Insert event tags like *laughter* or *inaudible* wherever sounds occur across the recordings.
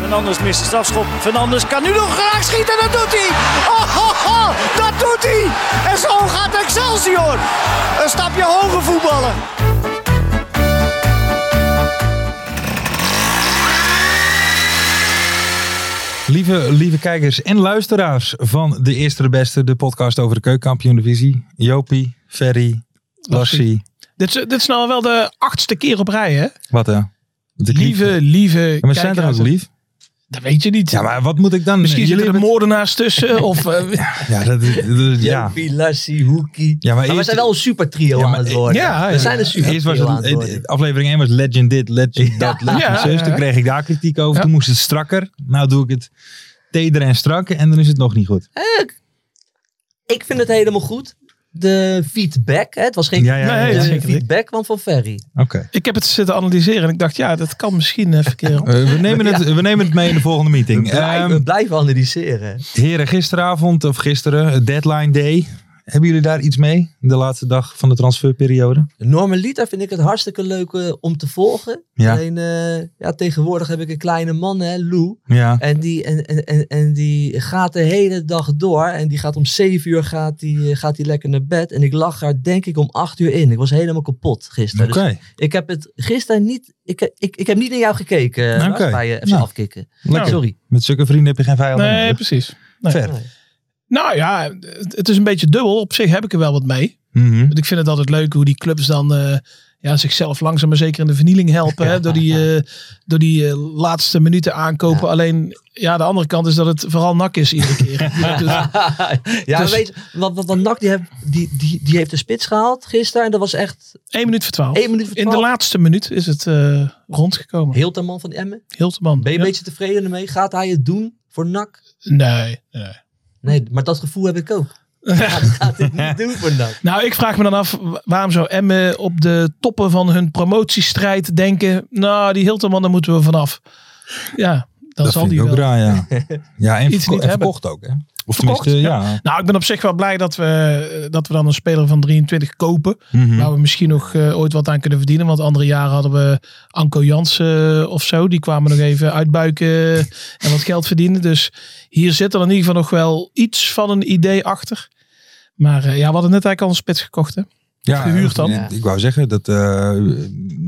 Fernandes mist de strafschop. Fernandes kan nu nog graag schieten. Dat doet hij. Oh, oh, oh, dat doet hij. En zo gaat Excelsior. Een stapje hoger voetballen. Lieve, lieve kijkers en luisteraars van De Eerste de Beste, de podcast over de keukenkampioen divisie. Jopie, Ferry, Lassie, Dit is, dit is nou wel de achtste keer op rij, hè? wat hè? De Lieve, Ja, lieve maar ze zijn er ook kijkers. lief? Dat weet je niet. Ja, maar wat moet ik dan? Misschien Jullie zitten er hebben- *laughs* moordenaars tussen. Of, eh, Ja, dat, dat- ja. Jopie, Lassie, Hoekie. Ja, maar maar, we eerst- zijn wel een super trio Ja, maar- aan het worden. ja, ja. We zijn een super Eerst was trio aan het, het worden. eh, aflevering 1 was Legend dit, Legend dat, Legend Ja, zus. ja, Toen ja. kreeg ik daar kritiek over. Ja. Toen moest het strakker. Nou doe ik het teder en strak en dan is het nog niet goed. Ik vind het helemaal goed. De feedback, hè? het was geen Ja, ja, Nee, ja, de dat is ja. zeker niet. feedback kwam van Ferry. Oké. ik heb het zitten analyseren en ik dacht, ja, dat kan misschien eh, *laughs* verkeer. Eh, we, nemen het, we nemen het mee in de volgende We meeting. blijven, Ehm, we blijven analyseren. Heren, gisteravond of gisteren, deadline day. Hebben jullie daar iets mee? De laatste dag van de transferperiode? Normaliter vind ik het hartstikke leuk eh, om te volgen. Ja. Alleen eh, ja, tegenwoordig heb ik een kleine man, hè, Lou. Ja. En die, en, en, en, en die gaat de hele dag door. En die gaat om 7 uur gaat die, eh, gaat die lekker naar bed. En ik lag daar denk ik om 8 uur in. Ik was helemaal kapot gisteren. Oké. Dus ik heb het gisteren niet. Ik, heb- ik, ik heb niet naar jou gekeken eh, Lars, Oké. bij je FC Nou. afkicken. Lekker. Sorry. Met zulke vrienden heb je geen vijanden Nee, nodig. precies. Nee. Ver. *laughs* Nou ja, het het is een beetje dubbel. Op zich heb ik er wel wat mee. Mhm. Want ik vind het altijd leuk hoe die clubs dan eh, ja, zichzelf langzaam maar zeker in de vernieling helpen. Hè, door die, eh, door die eh, laatste minuten aankopen. Ja. Alleen, ja, de andere kant is dat het vooral nak is iedere *laughs* keer. Ja, dus- ja, Dus- weet je, wat, wat, wat Nak die, heb- die, die, die heeft de spits gehaald gisteren. En dat was echt 1 minuut voor 12. 1 minuut voor Oh, In de 12. laatste minuut is het eh, rondgekomen. Heel ter man van Emmen. Hilteman. Ben je Ja. een beetje tevreden ermee? Gaat hij het doen voor Nak? Nee, nee. Nee, maar dat gevoel heb ik *laughs* ook. Hij gaat het niet doen voor Nak. Nou, ik vraag me dan af wa- waarom zou Emmen op de toppen van hun promotiestrijd denken. Nou, die Hilteman, daar moeten we vanaf. Ja, dan Dat zal vind die ik ook wel. raar, ja. Ja, en, *laughs* Iets verko niet en hebben. verkocht ook, hè? Of Verkocht, tenminste, ja. Nou, ik ben op zich wel blij dat we, eh, dat we dan een speler van 23 kopen. Mhm. Waar we misschien nog eh, ooit wat aan kunnen verdienen. Want andere jaren hadden we Anko Jansen eh, of zo. Die kwamen nog even uitbuiken eh, en wat geld verdienen. Dus hier zit er in ieder geval nog wel iets van een idee achter. Maar eh, ja, we hadden net eigenlijk al een spits gekocht. Hè? ja, gehuurd dan. Ik, ik wou zeggen, dat, eh,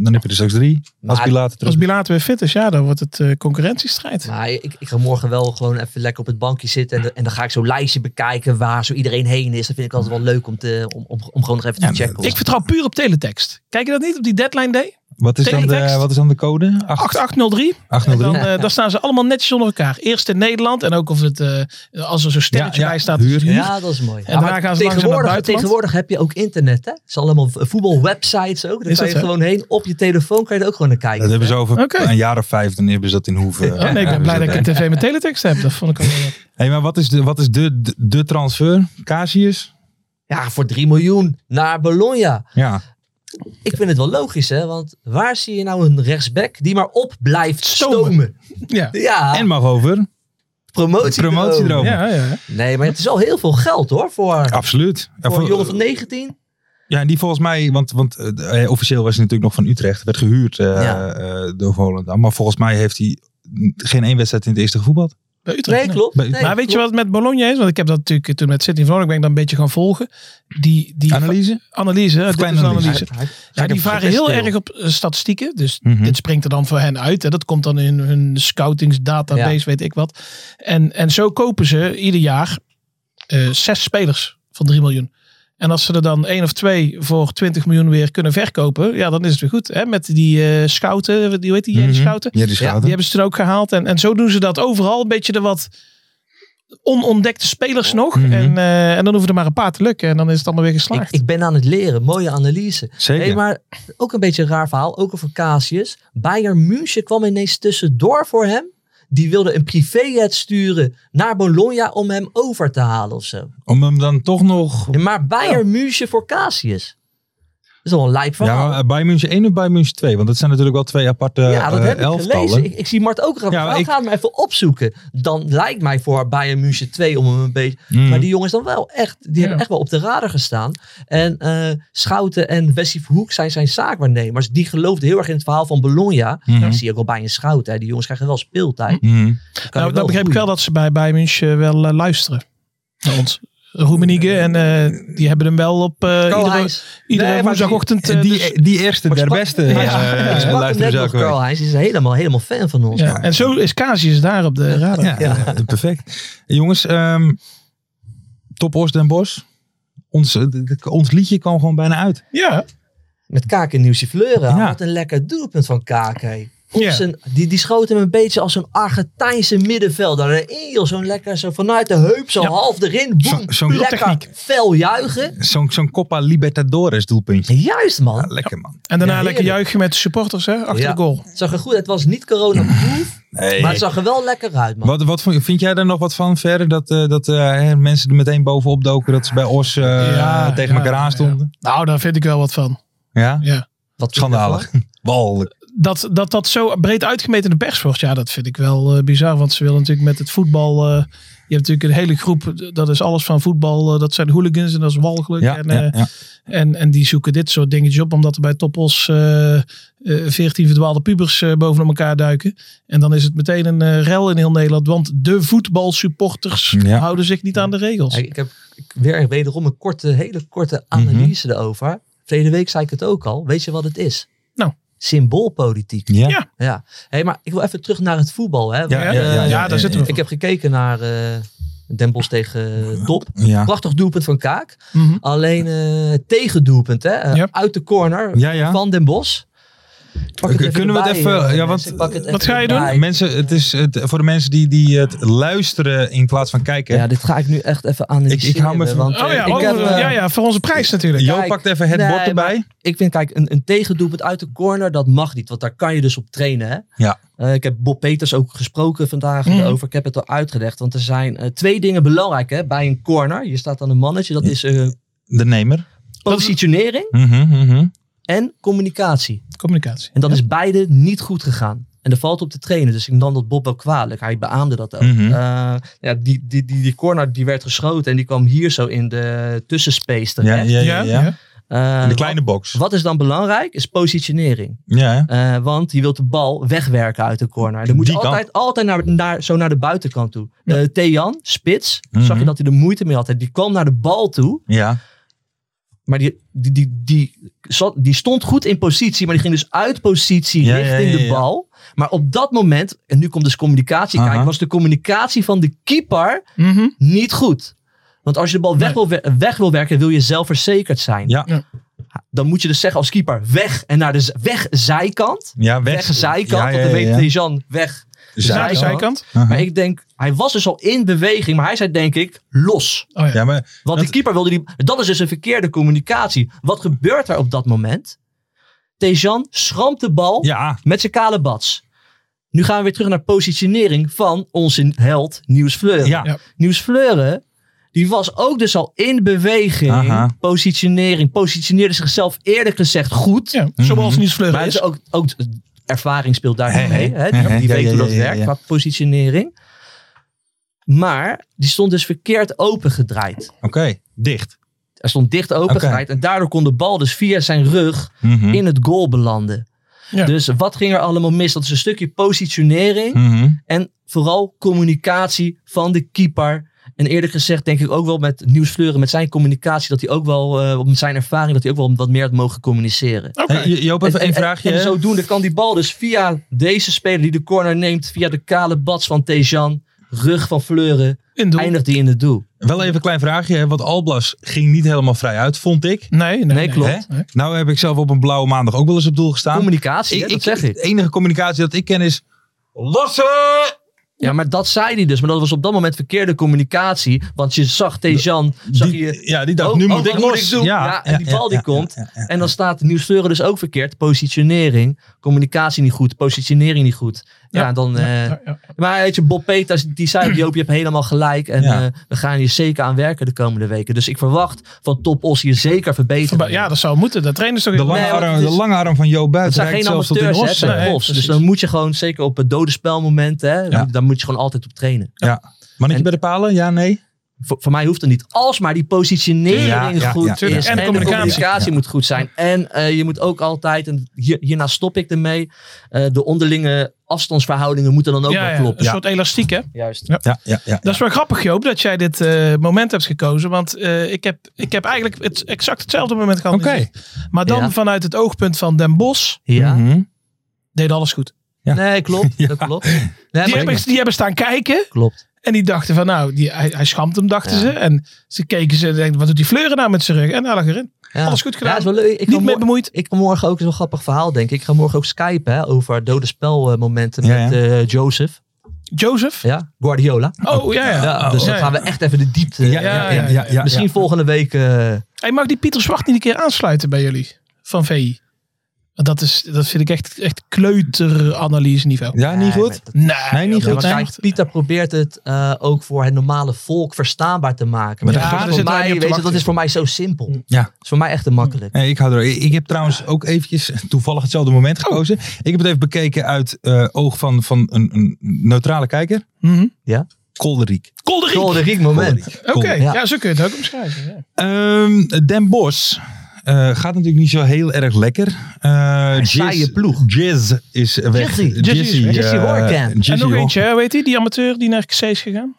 dan heb je er straks drie. Als Maar- Pilater terug. Als Bilater weer fit is, ja, dan wordt het eh, concurrentiestrijd. Maar ik, ik ga morgen wel gewoon even lekker op het bankje zitten. En, dan- en dan ga ik zo'n lijstje bekijken waar zo iedereen heen is. Dat vind ik altijd wel leuk om, te, om, om, om gewoon nog even te Ja, maar checken. Ik vertrouw puur op teletext. Kijk je dat niet op die deadline day? Wat is, dan de, Teletext. wat is dan de code? 8, 8803. En 803? dan, eh, daar staan ze allemaal netjes onder elkaar. Eerst in Nederland en ook of het, eh, als er zo'n sterretje Ja, ja, bij staat. huur. is Ja, dat is mooi. En Ja, daar maar gaan ze langzaam naar tegenwoordig, buitenland. tegenwoordig heb je ook internet, hè? Het is allemaal v- voetbalwebsites ook. Daar Is kan je dat zo? gewoon heen. Op je telefoon kan je er ook gewoon naar kijken. Dat hebben ze over Oké. een jaar of vijf, dan hebben ze dat in Hoeven. eh, Oh, nee, ik ben blij dat ik een tv met teletext heb. Dat vond ik al wel wat. Hey, maar wat is de, wat is de, de, de transfer? Casius? Ja, voor 3 miljoen naar Bologna. Ja. Ik vind het wel logisch, hè? Want waar zie je nou een rechtsback die maar op blijft Stomen. stomen? Ja. Ja, En mag over. promotie. Promotie erover. erover. Ja, ja. Nee, maar het is al heel veel geld, hoor. Voor, Absoluut. Ja, voor voor- een jongen van 19. ja, en die volgens mij, want, want eh, officieel was hij natuurlijk nog van Utrecht, werd gehuurd eh, Ja. eh, door Volendam. Maar volgens mij heeft hij geen één wedstrijd in het eerste gevoetbald. Bij Utrecht. Nee, klopt. Maar Nee, maar weet je klopt. wat het met Bologna is? Want ik heb dat natuurlijk eh, toen met City van ik ben ik dan een beetje gaan volgen. Die, die Analyse? analyse, hè, dit is Kleine een analyse. analyse. Hij- hij- Ja, hij die heeft varen heel stil. erg op eh, statistieken. Dus Mhm. dit springt er dan voor hen uit. Hè. Dat komt dan in hun scoutingsdatabase, Ja. weet ik wat. En, en zo kopen ze ieder jaar eh, zes spelers van 3 miljoen. En als ze er dan één of twee voor 20 miljoen weer kunnen verkopen, ja, dan is het weer goed. Hè? Met die eh, schouten, die, hoe heet die, Jerry Mhm. schouten? Ja, die schouten. Die hebben ze er ook gehaald. En, en zo doen ze dat overal. Een beetje de wat onontdekte spelers nog. Mhm. En, eh, en dan hoeven er maar een paar te lukken. En dan is het allemaal weer Ik, geslaagd. ik ben aan het leren. Mooie analyse. Zeker. Nee, maar ook een beetje een raar verhaal. Ook over Casius. Bayern München kwam ineens tussendoor voor hem. Die wilde een privéjet sturen naar Bologna om hem over te halen of zo. Om hem dan toch nog... Ja, Maar Bayern München voor Casius. Dat is wel een lijp verhaal. Ja, bij München 1 of bij München 2? Want dat zijn natuurlijk wel twee aparte Ja, dat eh, heb ik elftallen. gelezen. Ik, ik zie Mart ook graag. Ja, maar Ja, ik- ga het maar even opzoeken. Dan lijkt mij voor Bayern München 2 om hem een beetje... Mm. Maar die jongens dan wel echt... Die hebben echt wel op de radar gestaan. En eh, Schouten en Wessie Verhoek zijn zijn zaakwaarnemers. Die geloofden heel erg in het verhaal van Bologna. Mhm. Dat zie je ook wel bij een Schouten. hè. Die jongens krijgen wel speeltijd. Mhm. Dan kan Nou, je wel dan begreep ik wel groeien. dat ze bij Bayern München wel eh, luisteren naar ons. Roemenige en eh, die hebben hem wel op eh iedere, Karl-Heinz. iedere Nee, maar woensdagochtend. eh, die, e- dus- die eerste der beste Maar eh, ik sprak- eh, ik sprak hem luisteren net ze nog elke week. Karl-Heinz. Die is helemaal, helemaal fan van ons. Nou, ja. En zo is Casius daar op de radar. Ja, eh, perfect. Jongens, ehm Top Os Den Bos. Ons, eh, d- d- ons liedje kwam gewoon bijna uit. Ja. Met Kaken Nieuwsje Fleuren. Ja. Wat een lekker doelpunt van Kaken. Op Ja. zijn- die, die schoot hem een beetje als zo'n Argentijnse middenvelder. Erin, joh, zo'n lekker, zo vanuit de heup, zo Ja. half erin. Boem, Zo- zo'n lekker techniek. fel juichen. Zo'n zo'n Copa Libertadores doelpuntje. Juist, man. Ja, lekker man. En daarna Ja, lekker heerlijk. juichen met de supporters hè, achter Ja. de goal. Het zag er goed Het was niet coronaproof, maar het zag er wel lekker uit, man. Wat, wat vond je- vind jij daar nog wat van verder? Dat, eh, dat eh, hè, mensen er meteen bovenop doken dat ze bij Os eh, Ja, tegen ja, elkaar ja. aanstonden? Nou, daar vind ik wel wat van. Ja? Ja. Wat Schandalig. Walgelijk. dat, dat dat zo breed uitgemeten in de pers wordt, ja, dat vind ik wel eh, bizar. Want ze willen natuurlijk met het voetbal. eh, je hebt natuurlijk een hele groep, eh, dat is alles van voetbal. eh, dat zijn hooligans en dat is walgelijk. Ja, en, ja, eh, ja. en, en die zoeken dit soort dingetjes op, omdat er bij Topos eh eh 14 verdwaalde pubers eh, bovenop elkaar duiken. En dan is het meteen een eh, rel in heel Nederland, want de voetbalsupporters Ja. houden zich niet aan de regels. Ja, Ik heb ik- weer wederom een korte, hele korte Mhm. analyse erover. Verleden week zei ik het ook al. Weet je wat het is? Nou. Symboolpolitiek. Ja. Ja. Ja. Hey, maar ik wil even terug naar het voetbal. Hè? Ja, Want, ja, eh, ja, daar ja, zitten ja. we. Ik heb gekeken naar eh Den Bosch tegen eh, Dop. Ja. Prachtig doelpunt van Kaak. Mhm. Alleen eh tegendoelpunt, hè? eh, Ja. Uit de corner Ja, ja. van Den Bosch. Pak het K- kunnen we het erbij, even- eh, ja, mensen. want- Pak het Wat even ga je doen? erbij. Mensen, het is het, voor de mensen die, die het luisteren in plaats van kijken. Ja, dit ga ik nu echt even analyseren. Ik- ik hou me even- want, Oh eh, ja, ik oh, heb, eh, ja, ja, voor onze prijs natuurlijk. Jo kijk, pakt even het nee, bord erbij. Ik vind, kijk, een, een tegendoelpunt uit de corner, dat mag niet. Want daar kan je dus op trainen, hè? Ja. Eh, ik heb Bob Peters ook gesproken vandaag Mhm. over. Ik heb het al uitgelegd. Want er zijn eh, twee dingen belangrijk hè, bij een corner. Je staat aan een mannetje. Dat is eh, De nemer. positionering Mhm, mhm. en communicatie. Communicatie. En dat is beide niet goed gegaan. En dat valt op te trainen. Dus ik nam dat Bob wel kwalijk. Hij beaamde dat ook. Mhm. Eh, ja, die, die, die, die corner die werd geschoten. En die kwam hier zo in de tussenspace Ja, terecht. ja, ja, ja. Eh, In de kleine box. Wat, wat is dan belangrijk? Is positionering. Ja, hè? Eh, want je wilt de bal wegwerken uit de corner. Dan moet je Die kant. altijd, altijd naar, naar, zo naar de buitenkant toe. Eh Thean, spits. Mhm. Zag je dat hij er moeite mee had. hè? Die kwam naar de bal toe. ja. Maar die, die, die, die, zat- die stond goed in positie, maar die ging dus uit positie Ja, richting ja, ja, de ja. bal. Maar op dat moment, en nu komt dus communicatie Aha. kijken, was de communicatie van de keeper Mhm. niet goed. Want als je de bal Nee. weg, wil, wer- weg wil werken, wil je zelfverzekerd zijn. Ja. Ja. Dan moet je dus zeggen als keeper, weg en naar de z- wegzijkant. Ja, weg. Wegzijkant, Ja, ja, want dan ja, Mhm. ja. weet Dejan weg. Naar de Zijkant. zijkant. Aha. Maar ik denk, hij was dus al in beweging, maar hij zei denk ik, los. Oh, ja. Ja, maar Want Dat- de keeper wilde die. Dat is dus een verkeerde communicatie. Wat gebeurt er op dat moment? Tejan schrampt de bal ja. met zijn kale bats. Nu gaan we weer terug naar positionering van onze held Nieuws Fleuren. Ja. Ja. Nieuws Fleuren, die was ook dus al in beweging. Aha. Positionering. Positioneerde zichzelf eerlijk gezegd goed. Ja, Mhm. Zoals Niels Vleuger Maar het is. is ook, ook ervaring speelt daar Hey, mee. hey. Hè? Die, Hey, hey. die Ja, weet ja, hoe dat ja, ja, werkt ja. qua positionering. Maar die stond dus verkeerd opengedraaid. Oké. Dicht. Hij stond dicht opengedraaid. En daardoor kon de bal dus via zijn rug Mhm. in het goal belanden. Ja. Dus wat ging er allemaal mis? Dat is een stukje positionering Mhm. en vooral communicatie van de keeper. En eerlijk gezegd denk ik ook wel met Nieuws Fleuren, met zijn communicatie, dat hij ook wel, eh, met zijn ervaring, dat hij ook wel wat meer had mogen communiceren. Oké. Hey, Joop, Oh, even En- één en- vraagje. En, hè? zodoende kan die bal dus via deze speler die de corner neemt, via de kale bats van Tejan, rug van Fleuren, In doel. eindigt die in het doel. Wel even een klein vraagje, hè, want Alblas ging niet helemaal vrij uit, vond ik. Nee, nee, nee, klopt. nee. Nou heb ik zelf op een blauwe maandag ook wel eens op doel gestaan. Communicatie, hè, Ik- dat zeg ik. De enige communicatie dat ik ken is... Lossen! Ja, maar dat zei hij dus. Maar dat was op dat moment verkeerde communicatie. Want je zag Tejan, zag Die- je... ja, die dacht, oh, nu oh, moet wat ik los. doen? Ja, en die bal die ja, komt. ja, ja. En dan staat de nieuwsleuren dus ook verkeerd. Positionering, communicatie niet goed, positionering niet goed. Ja, Ja, dan... Ja, eh, ja, ja. Maar weet je, Bob Peters, die zei, Joop, je hebt helemaal gelijk. En Ja. eh, we gaan hier zeker aan werken de komende weken. Dus ik verwacht van Top Os hier zeker verbetering. Verba- ja, dat zou moeten. Dat trainers toch De even- lange, Nee, want arm, het is- de lange arm van Jo Het Buiten zijn reikt geen zelfs tot in amateurs, Os. hè, het zijn Nee, profs. Dus precies. dan moet je gewoon, zeker op het dode spelmomenten, hè, Ja. daar moet je gewoon altijd op trainen. Ja. Mannetje En- bij de palen? Ja, nee? Voor, voor mij hoeft het niet. Als maar die positionering Ja, ja, goed ja, is. tuurlijk. En de communicatie. moet goed zijn. En eh, je moet ook altijd, en hier, hierna stop ik ermee, eh, de onderlinge afstandsverhoudingen moeten dan ook ja, wel ja, kloppen. Een soort elastiek, hè? Juist. Ja, ja, ja. Dat is wel grappig, Joop, dat jij dit eh, moment hebt gekozen. Want eh, ik, heb, ik heb eigenlijk het, exact hetzelfde moment gehad. Oké. Maar dan Ja. vanuit het oogpunt van Den Bos Ja. Mhm. deed alles goed. Ja. Nee, klopt. Dat klopt. Nee, maar Die hebben, ik- die hebben staan kijken Klopt. en die dachten van nou, die, hij, hij schamt hem, dachten Ja. ze. En ze keken ze en dachten, wat doet die Fleuren nou met zijn rug? En hij lag erin. Ja. Alles goed gedaan. Ja, is wel leuk. Ik ga Niet mee mor- bemoeid. Ik ga morgen ook zo'n grappig verhaal, denk ik. Ik ga morgen ook skypen hè, over dode spelmomenten Ja, met ja. eh, Joseph. Joseph. Ja, Guardiola. Oh, ja, ja. Ja, dus oh, dan ja, gaan we echt even de diepte. Ja, ja, ja, ja, ja. Misschien volgende week. eh, Hey, mag die Pieter Zwart niet een keer aansluiten bij jullie? Van VI. Want Dat, is, dat vind ik echt, echt kleuteranalyse niveau. Ja, niet nee, goed? maar dat- Nee, Nee, niet joh, goed, dat hè? is Kijk, echt- Pieter probeert het eh, ook voor het normale volk verstaanbaar te maken. Maar dat, daar dus gaan- is voor daar zitten wij mij, niet op te weet je, dat wachten. is voor mij zo simpel. Dat Ja. is voor mij echt te makkelijk. Nee, ik hou er. Ik ik heb trouwens ook eventjes toevallig hetzelfde Oh. moment gekozen. Ik heb het even bekeken uit eh, oog van, van een, een neutrale kijker. Mhm. Kolderiek. Kolderiek. Kolderiek moment. Kolderiek. Oké, Kolderiek. ja. Ja. zo kun je het ook omschrijven. Ja. Ehm, Den Bos gaat natuurlijk niet zo heel erg lekker. Uh, saaie ploeg. Jizz is weg. Jizzy. Jizzy is weg. eh, Jizzy Hoorkamp. En En Jizzy nog Hoor- eentje, hè, weet je, die amateur die naar XC is gegaan.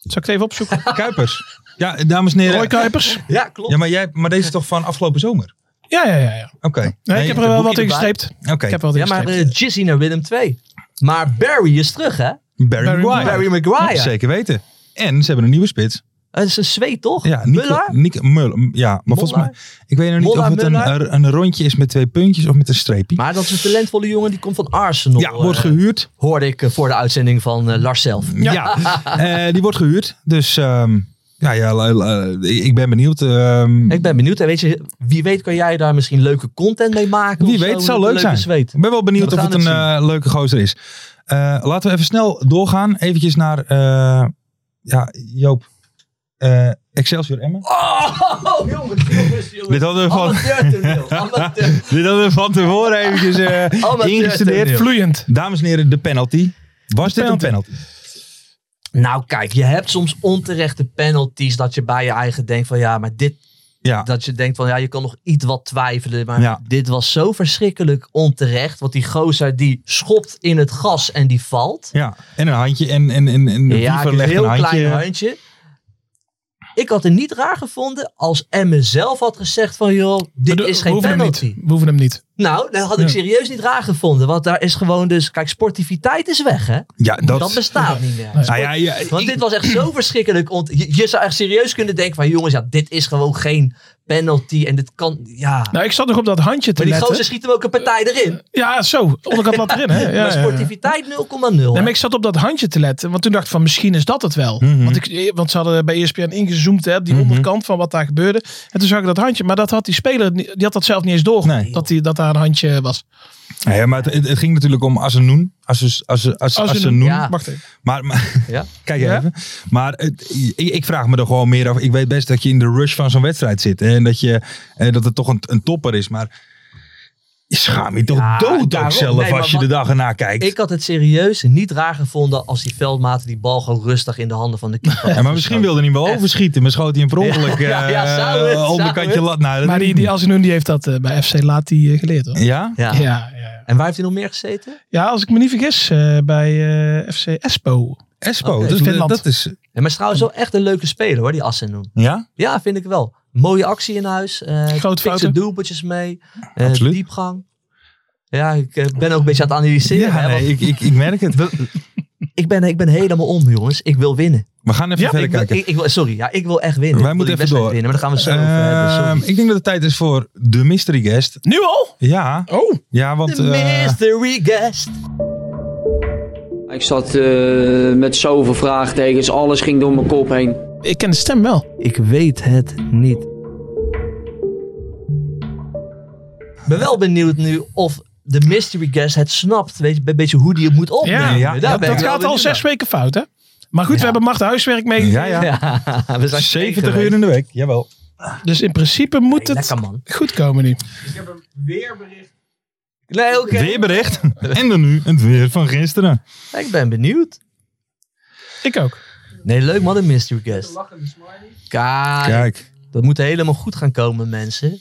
Zal ik het even opzoeken? Kuipers. Ja, dames en heren. Roy Kuipers. *laughs* Ja, klopt. Ja, maar, jij, maar deze is toch van afgelopen zomer? Ja, ja, ja. ja. Oké. Nee, ik heb er wel wat boekje in erbij. gestreept. Oké. Ik heb wel wat Ja, in maar gestreept. eh, Jizzy naar Willem 2. Maar Barry is terug, hè? Barry, Barry Maguire. Barry Maguire. Zeker weten. En ze hebben een nieuwe spits. Dat is een zweet, toch? Ja, Nico, Muller? Nico Muller. M- Ja, maar volgens mij. Ik weet nog niet Molla, of het een, Muller? een rondje is met twee puntjes of met een streepje. Maar dat is een talentvolle jongen, die komt van Arsenal. ja, wordt eh, gehuurd. hoorde ik eh, voor de uitzending van eh, Lars zelf. Ja. Eh, die wordt gehuurd. Dus ehm, ja, ja, la- la- ik ik ben benieuwd. ehm, Ik ben benieuwd. En weet je, wie weet kan jij daar misschien leuke content mee maken? Wie of weet, zo, het zou met leuk een leuke zijn. Zweet. Ik ben wel benieuwd We of gaan het een het eh, leuke gozer is. Eh, laten we even snel doorgaan. Eventjes naar eh, ja, Joop. Eh, Excelsior Emmen. Oh, *laughs* jongens, jongens, jongens. Dit hadden we van- Amateurtoneel, amateur. *laughs* Dit hadden we van tevoren eventjes eh, *laughs* Amateur ingestudeerd. toneel. Vloeiend. Dames en heren, de penalty. Was dit penalty. een penalty? Nou, kijk, je hebt soms onterechte penalties dat je bij je eigen denkt van ja, maar dit, Ja. dat je denkt van ja, je kan nog iets wat twijfelen, maar Ja. dit was zo verschrikkelijk onterecht, want die gozer die schopt in het gas en die valt. Ja, en een handje. En, en, en, en de Ja, keeper een legt heel een handje. klein handje. Ik had het niet raar gevonden als Emme zelf had gezegd van joh, dit We do- is we geen hoeven penalty. Hem niet. We hoeven hem niet. Nou, dat had ik Ja. serieus niet raar gevonden. Want daar is gewoon dus... Kijk, sportiviteit is weg, hè? Ja, dat, Dat, bestaat niet meer. Nee. Nou ja, ja, Want ik- dit was echt zo verschrikkelijk. ont- je, je zou echt serieus kunnen denken van... Jongens, ja, dit is gewoon geen penalty. En dit kan... Ja. Nou, ik zat nog op dat handje te maar die letten. gozer schiet hem ook een partij erin. Ja, zo. Onderkant lat erin, *laughs* hè. eh, Ja, maar ja, ja. sportiviteit 0,0. Nee, maar ik zat op dat handje te letten. Want toen dacht ik van misschien is dat het wel. Mhm. want, ik, eh, want ze hadden bij E ESPN ingezoomd hè, op die onderkant van wat daar gebeurde. En toen zag ik dat handje. Maar dat had die speler, ni- die had dat zelf niet eens door. Nee. Dat, die, dat daar een handje was. Nou ja, maar het, het- het ging natuurlijk om Asenoen. Asus- Asus- As- Asenoen, Asenoen. ja. Wacht even. Maar, maar Ja. kijk Ja? even. Maar het- ik, ik vraag me er gewoon meer af. Ik weet best dat je in de rush van zo'n wedstrijd zit. hè, En dat, je, eh, dat het toch een, een topper is. Maar je schaam je toch Ja, dood ook daarom. zelf Nee, maar als je de wat- dag erna kijkt. Ik had het serieus niet raar gevonden... als die veldmaten die bal gewoon rustig in de handen van de keeper had Ja, maar misschien wilde hij hem wel overschieten. Maar schoot hij hem per ongeluk *laughs* Ja, ja, zou het, eh, zou onderkantje het. lat. Nou, dat Maar weet die, ik die niet. Asinoen die heeft dat eh, bij FC Laat die eh, geleerd hoor. Ja? Ja. Ja, ja. En waar heeft hij nog meer gezeten? ja, als ik me niet vergis, eh, bij eh, FC Espo. Espo. Oké, dus dat- Finland. dat is... Ja, maar is trouwens wel echt een leuke speler hoor, die Assen noemt. Ja? Ja, vind ik wel. Mooie actie in huis. eh Grote fikse fouten. doelpuntjes mee. eh, Absoluut. Diepgang. Ja, ik eh, ben ook een beetje aan het analyseren. Ja, hè, nee, want ik, ik, ik merk het. We- ik, ben, ik ben helemaal om, jongens. Ik wil winnen. We gaan even Ja, verder Ik wil, kijken. ik, ik wil, sorry, ja, ik wil echt winnen. Wij Ik wil moeten die even wedstrijd door. Winnen, maar dan gaan we het zo over hebben. Ehm, Sorry. ik denk dat het tijd is voor de mystery guest. Nu al? Ja, Oh. ja want... De eh, mystery guest. Ik zat eh, met zoveel vraagtekens, alles ging door mijn kop heen. Ik ken de stem wel. Ik weet het niet. Ik ben wel benieuwd nu of de mystery guest het snapt. Weet je, een beetje hoe die het moet opnemen. Ja, ja, Daar dat ben ik dat wel gaat al benieuwd zes weken fout, hè? Maar goed, we hebben macht huiswerk mee. ja, ja. naar. *laughs* Ja, we zijn 70 tegen uur in de week, jawel. Dus in principe moet geweest. het Lekker man. goed komen nu. Nee, oké. Weerbericht. *laughs* en dan nu het weer van gisteren. Ik ben benieuwd. Ik ook. Nee, leuk man, de mystery guest. Kijk, Kijk. dat moet helemaal goed gaan komen, mensen.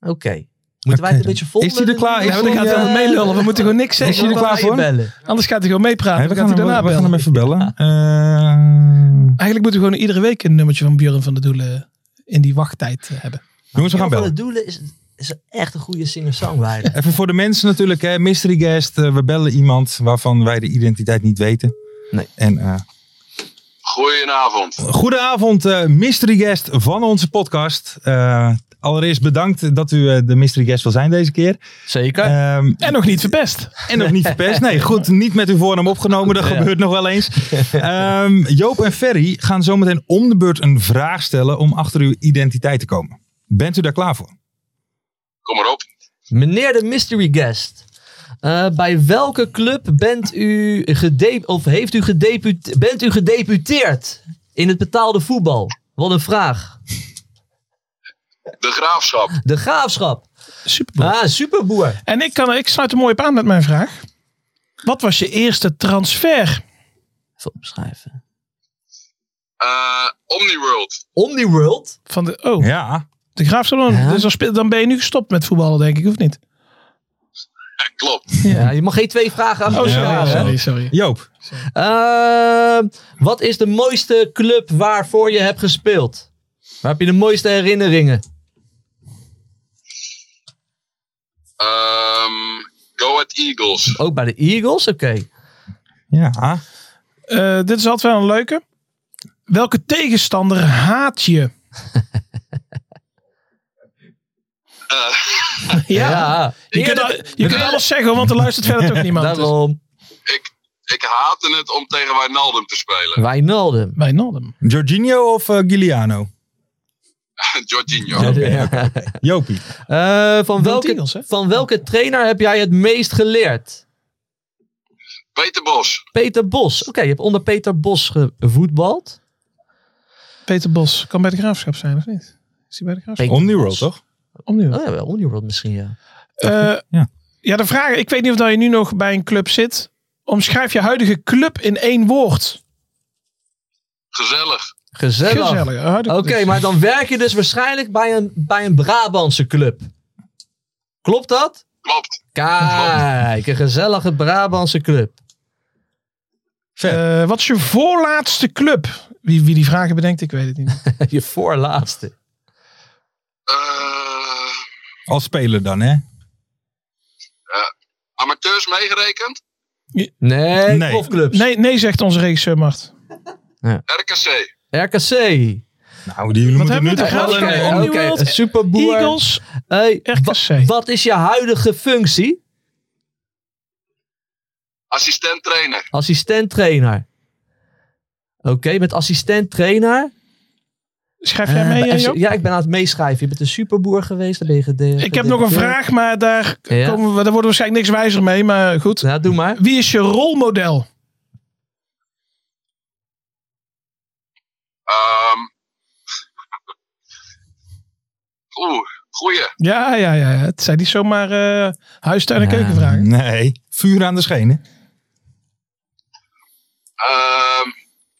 Oké. Moeten wij het Oké. een beetje vol? Is die er klaar? Ja, maar dan gaat hij eh, wel meelullen. We moeten gewoon niks Is hij zeggen. er klaar voor? Bellen. Anders gaat hij gewoon Hey, meepraten. we, Dan gaan gaat hij hem, daarna we gaan hem bellen. even bellen. Eh, Eigenlijk moeten we gewoon iedere week een nummertje van Björn van der Doelen in die wachttijd eh, hebben. jongens, Dus we gaan Van bellen. de doelen is, is echt een goede *laughs* singer-songwriter. Even voor de mensen natuurlijk, hè, mystery guest. eh, we bellen iemand waarvan wij de identiteit niet weten. Nee. En, eh, Goedenavond. goedenavond, eh, mystery guest van onze podcast. Eh, allereerst bedankt dat u eh, de mystery guest wil zijn deze keer. Zeker. Ehm, En nog niet verpest. en nog niet verpest. Nee, goed, niet met uw voornaam opgenomen. Dat gebeurt nog wel eens. Ehm, Joop en Ferry gaan zometeen om de beurt een vraag stellen om achter uw identiteit te komen. Bent u daar klaar voor? Kom maar op. Meneer de mystery guest. eh, bij welke club bent u, gede- of heeft u, gedepute- bent u gedeputeerd in het betaalde voetbal? Wat een vraag. De graafschap. De graafschap. Super. Ah, superboer. En ik, kan, ik sluit er mooi op aan met mijn vraag. Wat was je eerste transfer? Even opschrijven. Eh Omniworld. Omniworld. Van de, oh, Ja. de Graafsalon. Ja. Dus dan, speel- dan ben je nu gestopt met voetballen, denk ik, of niet? Ja, klopt. Ja, je mag geen twee vragen achter Oh, sorry, elkaar stellen. sorry, sorry. Joop, Ehm, wat is de mooiste club waarvoor je hebt gespeeld? Waar heb je de mooiste herinneringen? Ehm Go at Eagles. Ook bij de Eagles? Oké. Ja. Eh, dit is altijd wel een leuke. Welke tegenstander haat je? Eh, *laughs* Ja. Je, kunt, Eerder- al- je kunt alles zeggen, want er luistert verder toch niemand. Dus- Daarom. ik, ik haatte het om tegen Wijnaldum te spelen. *laughs* Wijnaldum. Wijnaldum. Jorginho of eh, Giuliano? Jorginho. Jopie. Eh, van, welke, Eagles, hè? van welke trainer heb jij het meest geleerd? Peter Bos. Peter Bos. Oké, je hebt onder Peter Bos gevoetbald. Peter Bos kan bij de graafschap zijn, of niet? Is hij bij de graafschap? Peter Omniworld, Bos. toch? Opnieuw. Oh ja, wel Uniworld misschien, ja. Eh, Ja. ja. de vraag. Ik weet niet of dat je nu nog bij een club zit. Omschrijf je huidige club in één woord. Gezellig. Gezellig. Gezellig. hè? Huidige Oké, club. maar dan werk je dus waarschijnlijk bij een, bij een Brabantse club. Klopt dat? Klopt. Kijk, een gezellige Brabantse club. *laughs* Eh, wat is je voorlaatste club? Wie, wie die vragen bedenkt, ik weet het *laughs* niet. je voorlaatste. Eh, Als speler dan, hè? amateurs meegerekend. Nee, Nee. profclubs. Nee, nee zegt onze regisseur Mart. RKC. RKC. Nou, die jullie Wat moeten hebben nu we toch met de wel graafschap? een- Om- een- Oké, Omniworld, een superboer. Eagles, Hey, wa- RKC. wat is je huidige functie? Assistent trainer. Assistent trainer. Oké, met assistent trainer. Schrijf jij Eh, mee, bij eh, FC Joop? ja, ik ben aan het meeschrijven. Je bent een superboer geweest. Dan ben je gede- Ik heb nog een gedeputeerd. vraag, maar daar, Ja. komen we, daar worden we waarschijnlijk niks wijzer mee. Maar goed. Ja, doe maar. Wie is je rolmodel? Ehm *laughs* Oeh, goeie. Ja, ja, ja. ja. Het zijn niet zomaar eh huistuin- en Ja. keukenvragen. Nee, vuur aan de schenen. Ehm,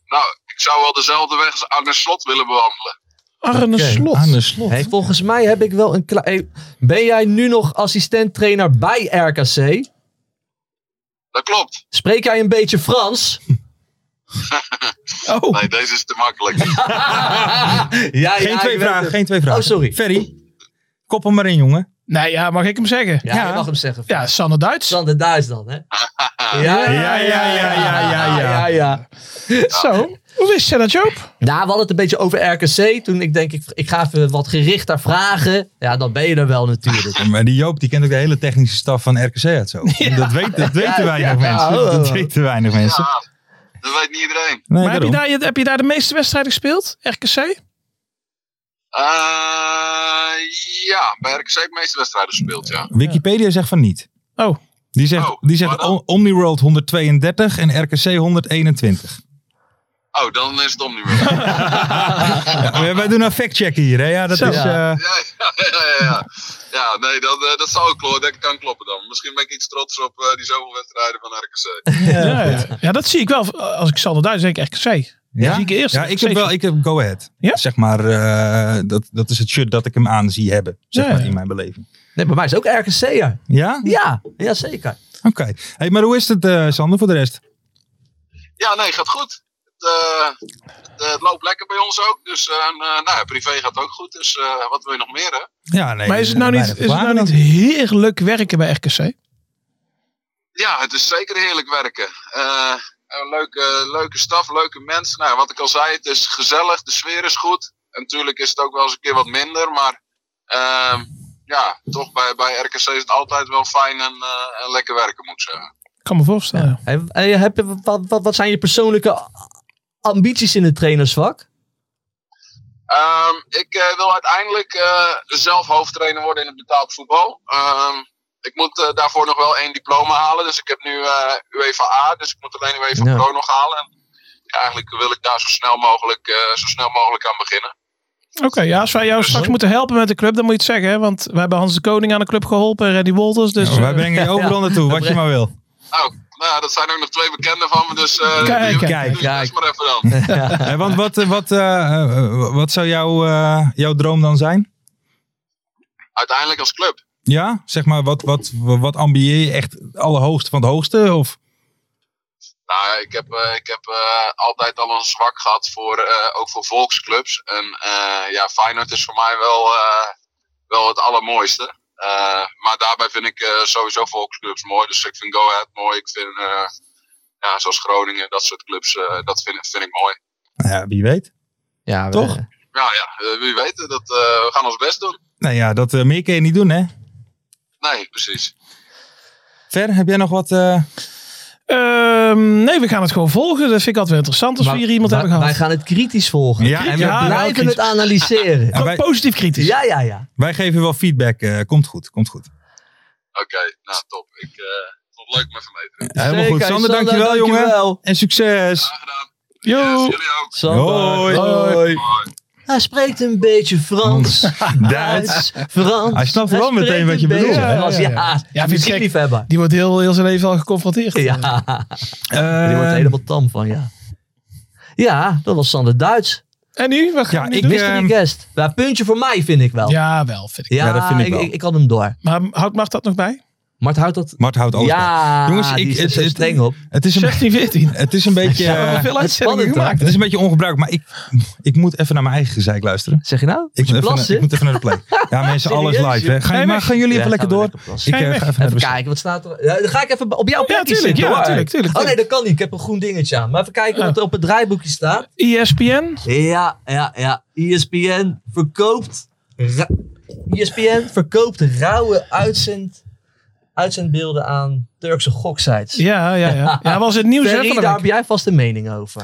nou, ik zou wel dezelfde weg als Arne Slot willen bewandelen. Arne Oké. Slot. Aan de slot. Hey, volgens mij heb ik wel een klaar. ben jij nu nog assistent trainer bij RKC? Dat klopt. Spreek jij een beetje Frans? Oh, Nee, deze is te makkelijk. *laughs* ja, ja, Geen ik twee weet vragen, het. geen twee vragen. Oh, sorry. Ferry, kop hem maar in, jongen. Nee, ja, mag ik hem zeggen? Ja, je mag hem zeggen. Ja, Sanne Duits. Sander Duits dan, hè? Ja, Ja, ja, ja, ja, ja, ja. ja, ja. Zo, hoe wist je dat, Joop? Nou, we hadden het een beetje over RKC. Toen ik denk, ik, ik ga even wat gerichter vragen. Ja, dan ben je er wel natuurlijk. Maar die Joop die kent ook de hele technische staf van RKC uit zo. Dat, weet, dat weten weinig ja, mensen. oh. Dat weten weinig mensen. Ja, dat weet niet iedereen. Nee, Maar heb je, daarom. daar, je- heb je daar de meeste wedstrijden gespeeld? RKC? Eh, ja, bij RKC heb ik de meeste wedstrijden gespeeld, ja. Wikipedia zegt van niet. Oh, Die zegt, Oh, die zegt maar dan- O- Omniworld 132 en RKC 121. Oh, dan is het om nu weer. Ja, wij doen een fact-check hier. Hè? Ja, dat is, eh, Ja, ja, ja, ja, ja. Ja, nee, dat, eh, dat zou kloppen. Dat kan kloppen dan. Misschien ben ik iets trots op eh, die zoveel wedstrijden van RKC. ja, ja. Ja, dat zie ik wel. Als ik Sanne Duits denk, ik RKC. ja? zie ik eerst. Ja, ik heb wel, ik heb Go Ahead. Ja? Zeg maar, eh, dat, dat is het shirt dat ik hem aan zie hebben. Zeg Ja, maar, ja. in mijn beleving. *laughs* Nee, bij mij is ook RKC'er. Ja? Ja, ja zeker. Oké. Hey, maar hoe is het, eh, Sander, voor de rest? Ja, nee, gaat goed. Het, eh, het, eh, het loopt lekker bij ons ook. Dus eh, en, eh, nou, ja, privé gaat ook goed. Dus eh, wat wil je nog meer, hè? Ja, nee. Maar is het nou niet, weinig is het nou vragen dan. niet heerlijk werken bij RKC? Ja, het is zeker heerlijk werken. Eh, een leuke, leuke staf, leuke mensen. Nou, wat ik al zei, het is gezellig, de sfeer is goed. En natuurlijk is het ook wel eens een keer wat minder, maar ehm, ja, toch bij, bij RKC is het altijd wel fijn en, eh, en lekker werken, moet ik zeggen. Ik kan me voorstellen. ja. Hey, hey, heb je, wat, wat, wat zijn je persoonlijke ambities in het trainersvak? Ehm, ik eh, wil uiteindelijk eh, zelf hoofdtrainer worden in het betaald voetbal. Ehm, ik moet eh, daarvoor nog wel één diploma halen, dus ik heb nu eh, UEFA A, dus ik moet alleen UEFA Ja. Pro nog halen. En eigenlijk wil ik daar zo snel mogelijk, eh, zo snel mogelijk aan beginnen. Oké, ja, als wij jou straks moeten helpen met de club, dan moet je het zeggen. hè, Want we hebben Hans de Koning aan de club geholpen, Reddy Wolters. Dus Nou, wij eh, brengen je overal naartoe, wat je maar wil. Oh, nou, ja, dat zijn ook nog twee bekenden van me, dus eh Kijk, die- kijk, doe je kijk. best maar even dan. Hey, want wat, eh, wat, eh, eh, wat zou jouw, eh, jouw droom dan zijn? Uiteindelijk als club. Ja, zeg maar, wat, wat, wat ambieer je echt het allerhoogste van het hoogste? Of? Nou, ik heb, eh, ik heb eh, altijd al een zwak gehad voor, eh, ook voor volksclubs. En eh, ja, Feyenoord is voor mij wel, eh, wel het allermooiste. Eh, maar daarbij vind ik eh, sowieso volksclubs mooi. Dus ik vind Go Ahead mooi. Ik vind, eh, ja, zoals Groningen, dat soort clubs, eh, dat vind, vind ik mooi. Nou ja, wie weet. Ja, Toch? Ja, ja, eh, wie weet. Dat, eh, we gaan ons best doen. Nou ja, dat eh, meer kun je niet doen, hè? Nee, precies. Ver, heb jij nog wat? eh, ehm, nee, we gaan het gewoon volgen. Dat vind ik altijd wel interessant als Maar- we hier iemand wij- hebben gehad. Wij gaan het kritisch volgen. Ja, en we Ja, blijven Blijven kritisch. het analyseren. Ja, Gewoon wij- positief kritisch. Ja, ja, ja. Wij geven wel feedback. eh, komt goed, komt goed. Oké, nou top. Ik eh, vond het leuk om even mee te doen. Helemaal goed. Zeker. Sander, dankjewel, jongen. En succes. Graag gedaan. Yo. Yes, jullie ook. Sander. Hoi. Hij spreekt een beetje Frans, Duits. Duits, Frans. Hij snapt wel spreekt meteen wat je een beetje bedoelt. Frans, Ja, Ja, ja, ja. Ja, ja, vind je het gek? muziekliefhebber. Die wordt heel, heel zijn leven al geconfronteerd. Ehm, Ja, Eh, die wordt er helemaal tam van, ja. Ja, dat was Sander Duits. En nu? Wat gaan Ja, we nu ik- doen? Mystery ehm, guest. Ja, puntje voor mij vind ik wel. Ja, Ja, wel. Vind ik. ja, dat vind ik wel. Ik, ik had hem door. Maar houdt Mart dat nog bij? Mart houdt dat... Mart houdt alles bij. ja, Jongens, die ik- is er het- zo het- streng op. Het is een, 16, 14. het is een beetje... We hebben eh, veel uitzendingen spannend, hè? gemaakt. het is een beetje ongebruikt, maar ik, ik moet even naar mijn eigen gezeik luisteren. Zeg je nou? Ik Moet je moet, even, naar- plassen? ik moet even naar de play. Ja, mensen, alles Serieus, live. Hè. Ga je, joh? maar gaan jullie even Ja, lekker gaan we door? lekker plassen. ik eh, Ga ga je weg? even naar de Even wc. kijken, wat staat er? Ja, dan ga ik even op jouw plekje tuurlijk, zitten. dus- ja, hoor. tuurlijk, tuurlijk, Oh nee, dat kan niet. Ik heb een groen dingetje aan. Maar even kijken wat er op het draaiboekje staat. E ESPN? Ja, ja, ja. E ESPN verkoopt... ra- E ESPN verkoopt rauwe uitzend, uitzendbeelden aan Turkse goksites. Ja, ja, ja. Ja, was het nieuws. hè, Ferry, van de daar week? heb jij vast een mening over.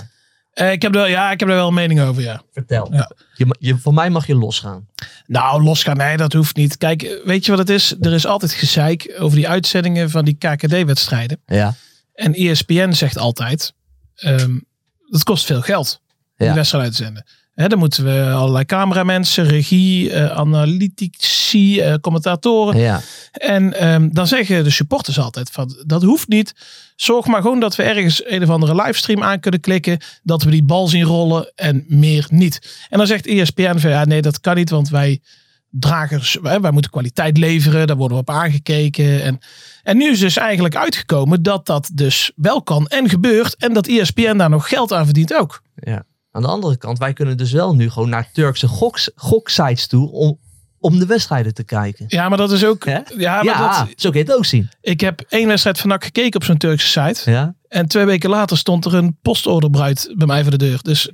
Eh, ik heb er, ja, ik heb er wel een mening over, ja. Vertel. Ja. Je, ma- je, voor mij mag je losgaan. Nou, losgaan, nee, dat hoeft niet. Kijk, eh, weet je wat het is? Er is altijd gezeik over die uitzendingen van die KKD-wedstrijden. Ja. En E ESPN zegt altijd, ehm dat kost veel geld, om Ja. die wedstrijd uit te zenden. Hè, dan moeten we allerlei cameramensen, regie, eh, analytici, eh, commentatoren. Ja. En ehm, dan zeggen de supporters altijd van, dat hoeft niet. Zorg maar gewoon dat we ergens een of andere livestream aan kunnen klikken. Dat we die bal zien rollen en meer niet. En dan zegt E ESPN van, ja nee dat kan niet. Want wij dragers, wij, wij moeten kwaliteit leveren. Daar worden we op aangekeken. En, en nu is dus eigenlijk uitgekomen dat dat dus wel kan en gebeurt. En dat E ESPN daar nog geld aan verdient ook. Aan de andere kant, wij kunnen dus wel nu gewoon naar Turkse goks, goksites toe om, om de wedstrijden te kijken. Ja, maar dat is ook... Hè? Ja, maar ja, Dat, zo kun je het ook zien. ik heb één wedstrijd van NAC gekeken op zo'n Turkse site. Ja, En twee weken later stond er een postorderbruid bij mij voor de deur. Dus,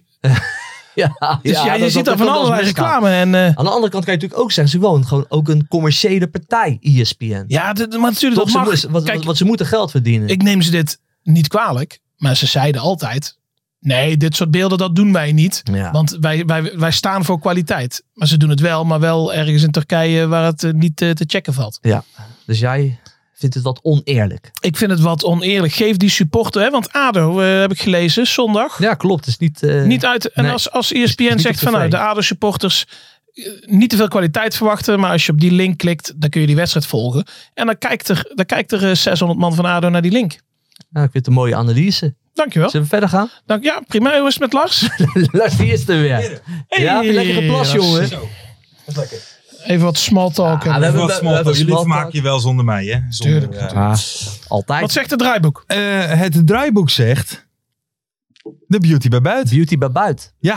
ja, dus ja, je dat- ziet dat- daar van dat allerlei misgaat. reclame. En, eh, Aan de andere kant kan je natuurlijk ook zeggen, ze wonen gewoon ook een commerciële partij, E ESPN. ja, dit- maar natuurlijk, dat Toch, ze mag. moeten- wat, Kijk, wat, wat ze moeten geld verdienen. ik neem ze dit niet kwalijk. Maar ze zeiden altijd, nee, dit soort beelden, dat doen wij niet. ja. Want wij, wij, wij staan voor kwaliteit. Maar ze doen het wel, maar wel ergens in Turkije waar het eh, niet eh, te checken valt. Dus jij vindt het wat oneerlijk. Ik vind het wat oneerlijk. Geef die supporter, hè, want ADO eh, heb ik gelezen, zondag. Ja, klopt. Het is niet... eh, Niet uit, en nee. als, als Is ESPN niet zegt te van nou, de tevreden. ADO-supporters eh, niet te veel kwaliteit verwachten. Maar als je op die link klikt, dan kun je die wedstrijd volgen. En dan kijkt er, dan kijkt er eh, 600 man van ADO naar die link. Nou, ik vind het een mooie analyse. Dankjewel. Zullen we verder *laughs* gaan? Dank, ja, prima. Hoe is het met Lars? Lars, die is er weer. *laughs* ja, heb je lekker geplast, Lars. jongen? Even wat small talk. Ah, hebben. we Wat hebben- small talk. hebben Jullie small talk. vermaken je wel zonder mij, hè? Zonder, Tuurlijk, ja. Ah, altijd. Wat zegt het draaiboek? Eh, het draaiboek zegt... De beauty bij buiten. Beauty bij buiten. Ja,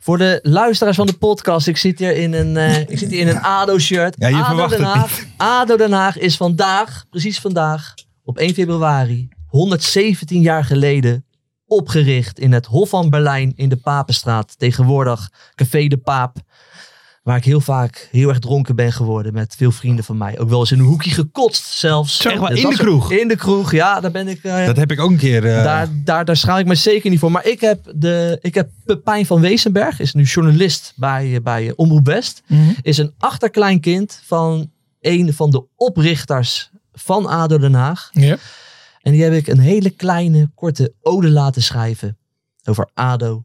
Voor de luisteraars van de podcast, ik zit hier in een, eh, ik zit hier in een ADO-shirt. Ja, je ADO, verwacht Den het Haag. ADO Den Haag is vandaag, precies vandaag, op 1 februari, 117 jaar geleden, opgericht in het Hof van Berlijn in de Papenstraat. Tegenwoordig Café de Paap, waar ik heel vaak heel erg dronken ben geworden met veel vrienden van mij. Ook wel eens in een hoekje gekotst zelfs. Dus Zeg maar, Dat in de was- kroeg? In de kroeg, ja, daar ben ik... eh, dat heb ik ook een keer... eh, daar, daar, daar schaal ik me zeker niet voor. Maar ik heb, de, ik heb Pepijn van Wezenberg, is nu journalist bij, eh, bij eh, Omroep West. Is een achterkleinkind van een van de oprichters van ADO Den Haag. Ja. En die heb ik een hele kleine, korte ode laten schrijven over ADO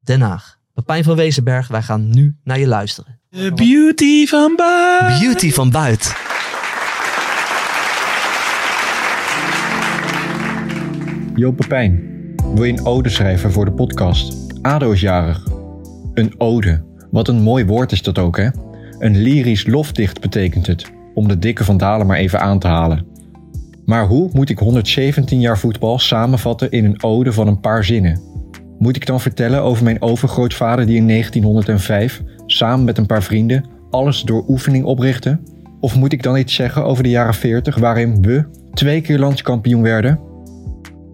Den Haag. Pepijn van Wezenberg, wij gaan nu naar je luisteren. De beauty van Ba. Beauty van buiten. Jo Pepijn, wil je een ode schrijven voor de podcast? ADO is jarig. Een ode. Wat een mooi woord is dat ook, hè? Een lyrisch lofdicht betekent het, om de dikke Van Dalen maar even aan te halen. Maar hoe moet ik 117 jaar voetbal samenvatten in een ode van een paar zinnen? Moet ik dan vertellen over mijn overgrootvader die in 1905, samen met een paar vrienden, alles door oefening oprichtte? Of moet ik dan iets zeggen over de jaren 40, waarin we twee keer landskampioen werden?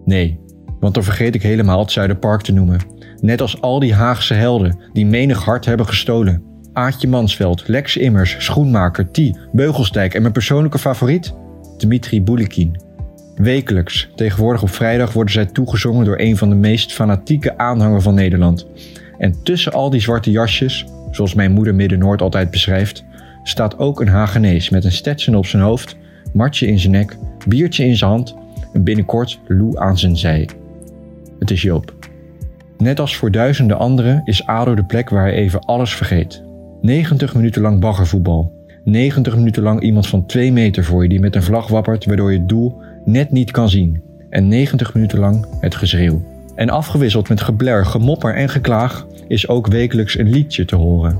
Nee, want dan vergeet ik helemaal het Zuiderpark te noemen. Net als al die Haagse helden die menig hart hebben gestolen. Aatje Mansveld, Lex Immers, Schoenmaker, T, Beugelsdijk en mijn persoonlijke favoriet, Dmitri Bulikin. Wekelijks, tegenwoordig op vrijdag, worden zij toegezongen door een van de meest fanatieke aanhangers van Nederland. En tussen al die zwarte jasjes, zoals mijn moeder Midden-Noord altijd beschrijft, staat ook een Hagenees met een stetson op zijn hoofd, matje in zijn nek, biertje in zijn hand en binnenkort Lou aan zijn zij. Het is Joop. Net als voor duizenden anderen is ADO de plek waar hij even alles vergeet. 90 minuten lang baggervoetbal. 90 minuten lang iemand van 2 meter voor je die met een vlag wappert waardoor je het doel net niet kan zien. En 90 minuten lang het geschreeuw. En afgewisseld met gebler, gemopper en geklaag is ook wekelijks een liedje te horen.